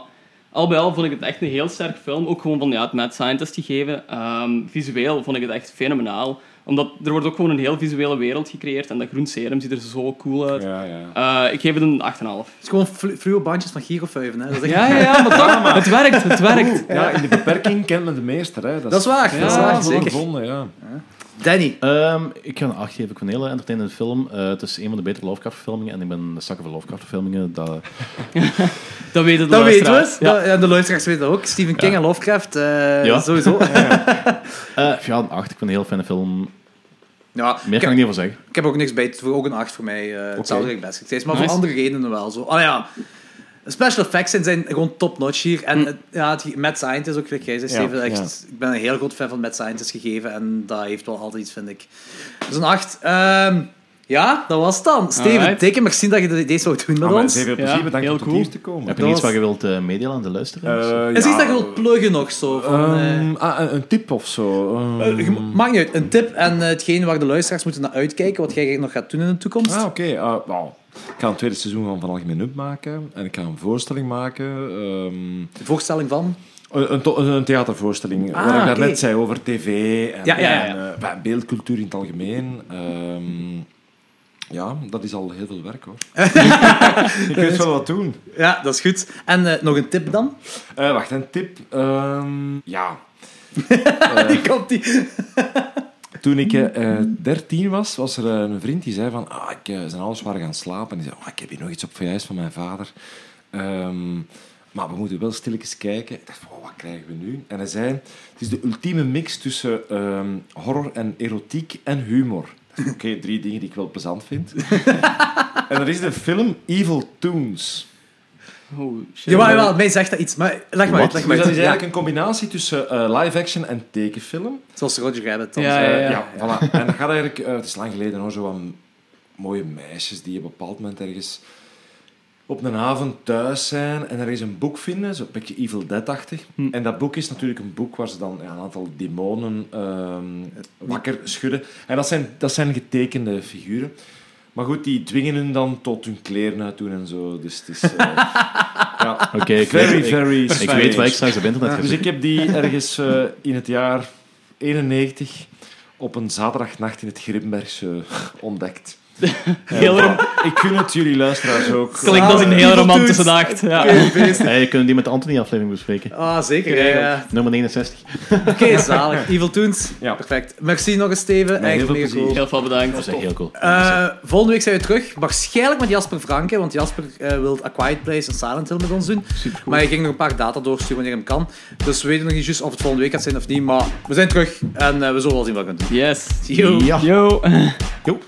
Speaker 2: al bij al vond ik het echt een heel sterk film. Ook gewoon van ja, het Mad Scientist gegeven. Ehm, visueel vond ik het echt fenomenaal. Omdat er wordt ook gewoon een heel visuele wereld gecreëerd en dat groen serum ziet er zo cool uit.
Speaker 1: Ja, ja.
Speaker 2: Eh, ik geef het een 8,5.
Speaker 5: Het is gewoon flu fluo bandjes van Gierofeuven, hè. Dat is echt...
Speaker 2: Ja, ja, ja, maar toch, het werkt, het werkt.
Speaker 1: Ja, in de beperking kent men de meester. Hè.
Speaker 5: Dat is waar,
Speaker 1: Ja,
Speaker 5: dat is waar,
Speaker 1: zo
Speaker 5: zeker.
Speaker 1: gevonden, ja.
Speaker 5: Danny.
Speaker 3: Ehm, ik ga een 8 geven. Ik vind het een hele entertainende film. Eh, het is een van de betere Lovecraft-verfilmingen. En ik ben een zakken van Lovecraft-verfilmingen. Dat...
Speaker 2: Dat weten de
Speaker 5: Dat weten we.
Speaker 2: luisteraars. Ja.
Speaker 5: Ja. De luisteraars weten dat ook. Stephen King en Lovecraft, eh,
Speaker 3: Ja.
Speaker 5: sowieso.
Speaker 3: Eh, ja, een 8. Ik vind het een heel fijne film.
Speaker 5: Ja,
Speaker 3: Meer
Speaker 5: ik,
Speaker 3: kan ik niet over zeggen.
Speaker 5: ik heb ook niks bij te voegen. Ook een 8 voor mij. eh, Hetzelfde okay. best gezegd. Maar voor
Speaker 2: Nice.
Speaker 5: andere redenen wel zo. Ah ja. Special effects zijn, zijn gewoon top-notch hier. En het, ja, het, Mad Scientist ook, gelijk jij zei,
Speaker 1: Hm. Ja,
Speaker 5: Steven.
Speaker 1: ja.
Speaker 5: Echt, Ik ben een heel groot fan van Mad Scientist gegeven. En dat heeft wel altijd iets, vind ik. Dus een 8. Ehm, ja, dat was het dan. Steven,
Speaker 2: Alright.
Speaker 5: dikke merci dat je de- deze wou doen met
Speaker 1: Ah, maar
Speaker 5: ons.
Speaker 1: zeker,
Speaker 2: Ja,
Speaker 1: plezier, bedankt
Speaker 2: heel
Speaker 1: om tot
Speaker 2: cool.
Speaker 1: hier te komen.
Speaker 3: Heb je
Speaker 5: dat
Speaker 3: iets
Speaker 5: was-
Speaker 3: wat je wilt eh, meedelen aan de luisteraars?
Speaker 1: Eh,
Speaker 5: Is
Speaker 1: ja,
Speaker 5: iets dat je wilt pluggen nog zo? Van, eh,
Speaker 1: ehm, ah, een- een tip of zo. ehm.
Speaker 5: Eh, je- Maakt niet uit. Een tip en eh, hetgeen waar de luisteraars moeten naar uitkijken, wat jij nog gaat doen in de toekomst.
Speaker 1: Ah, oké. eh, wauw. Ik ga een tweede seizoen van Van Algemeen Up maken. En ik ga een voorstelling maken. ehm,
Speaker 5: De voorstelling van.
Speaker 1: een, een to- een theatervoorstelling.
Speaker 5: Ah,
Speaker 1: wat ik
Speaker 5: oké.
Speaker 1: daarnet zei over tv en,
Speaker 5: Ja, ja, ja.
Speaker 1: en, eh, bij beeldcultuur in het algemeen. Ehm, Ja, dat is al heel veel werk hoor. Je kunt wel wat doen.
Speaker 5: Ja, dat is goed. En eh, nog een tip dan?
Speaker 1: Eh, wacht, een tip. Ehm, ja,
Speaker 2: Eh.
Speaker 5: Die komt die.
Speaker 1: Toen ik eh, eh, 13 was, was er eh, een vriend die zei van... Ah, ik, eh, zijn ouders waren gaan slapen. En die zei, oh, ik heb hier nog iets op verhuis van mijn vader. Ehm, maar we moeten wel stilletjes kijken. Ik dacht, van, oh, wat krijgen we nu? En hij zei, het is de ultieme mix tussen ehm, horror en erotiek en humor. Ik dacht, Oké, drie dingen die ik wel plezant vind. en dat is de film Evil Toons.
Speaker 2: Oh, shit.
Speaker 5: Jawel, jawel, mij zegt dat iets. Maar leg maar uit, leg maar
Speaker 1: Dus dat is
Speaker 5: uit.
Speaker 1: eigenlijk een combinatie tussen eh, live-action en tekenfilm.
Speaker 5: Ja, zoals Roger Rabbit. dan.
Speaker 2: Ja,
Speaker 1: Eh, ja,
Speaker 2: ja, ja.
Speaker 1: voilà. En dat gaat eigenlijk... eh, het is lang geleden hoor, zo van mooie meisjes die op een bepaald moment ergens op een avond thuis zijn en er is een boek vinden, zo'n beetje Evil Dead-achtig.
Speaker 2: Hm.
Speaker 1: En dat boek is natuurlijk een boek waar ze dan ja, een aantal demonen ehm, wakker schudden. En dat zijn, dat zijn getekende figuren. Maar goed, die dwingen hun dan tot hun kleren uitdoen en zo. Dus het is... eh, ja.
Speaker 3: Oké, ik weet-
Speaker 1: Very,
Speaker 3: ik-
Speaker 1: very
Speaker 3: Ik weet waar ik
Speaker 1: strange.
Speaker 3: straks op internet ga
Speaker 1: Dus
Speaker 3: zoeken.
Speaker 1: ik heb die ergens eh, in het jaar 91 op een zaterdagnacht in het Grimbergse ontdekt.
Speaker 2: Heel rom-
Speaker 1: Ik gun het jullie luisteraars ook.
Speaker 2: Klinkt als een heel
Speaker 5: Evil
Speaker 2: romantische
Speaker 5: dudes.
Speaker 2: nacht. Ja.
Speaker 3: Hey, kunnen Eh, die met de Anthony-aflevering bespreken?
Speaker 5: Ah, zeker. ja, ja.
Speaker 3: Nummer 69.
Speaker 5: Oké, zalig. Evil Toons.
Speaker 1: Ja.
Speaker 5: Perfect. Merci nog eens, Steven.
Speaker 1: heel veel
Speaker 5: Eigenlijk mega
Speaker 1: plezier.
Speaker 5: cool.
Speaker 2: Heel veel
Speaker 3: Dat
Speaker 2: bedankt.
Speaker 3: is echt heel cool.
Speaker 5: Eh, volgende week zijn we terug. Waarschijnlijk met Jasper Franke, want Jasper eh, wil A Quiet Place en Silent Hill met ons doen. Maar hij ging nog een paar data doorsturen wanneer hem kan. Dus we weten nog niet juist of het volgende week gaat zijn of niet. Maar we zijn terug en eh, we zullen wel zien wat we kunnen doen.
Speaker 2: Yes.
Speaker 5: Yo.
Speaker 3: Ja.
Speaker 2: Yo.
Speaker 3: Yo.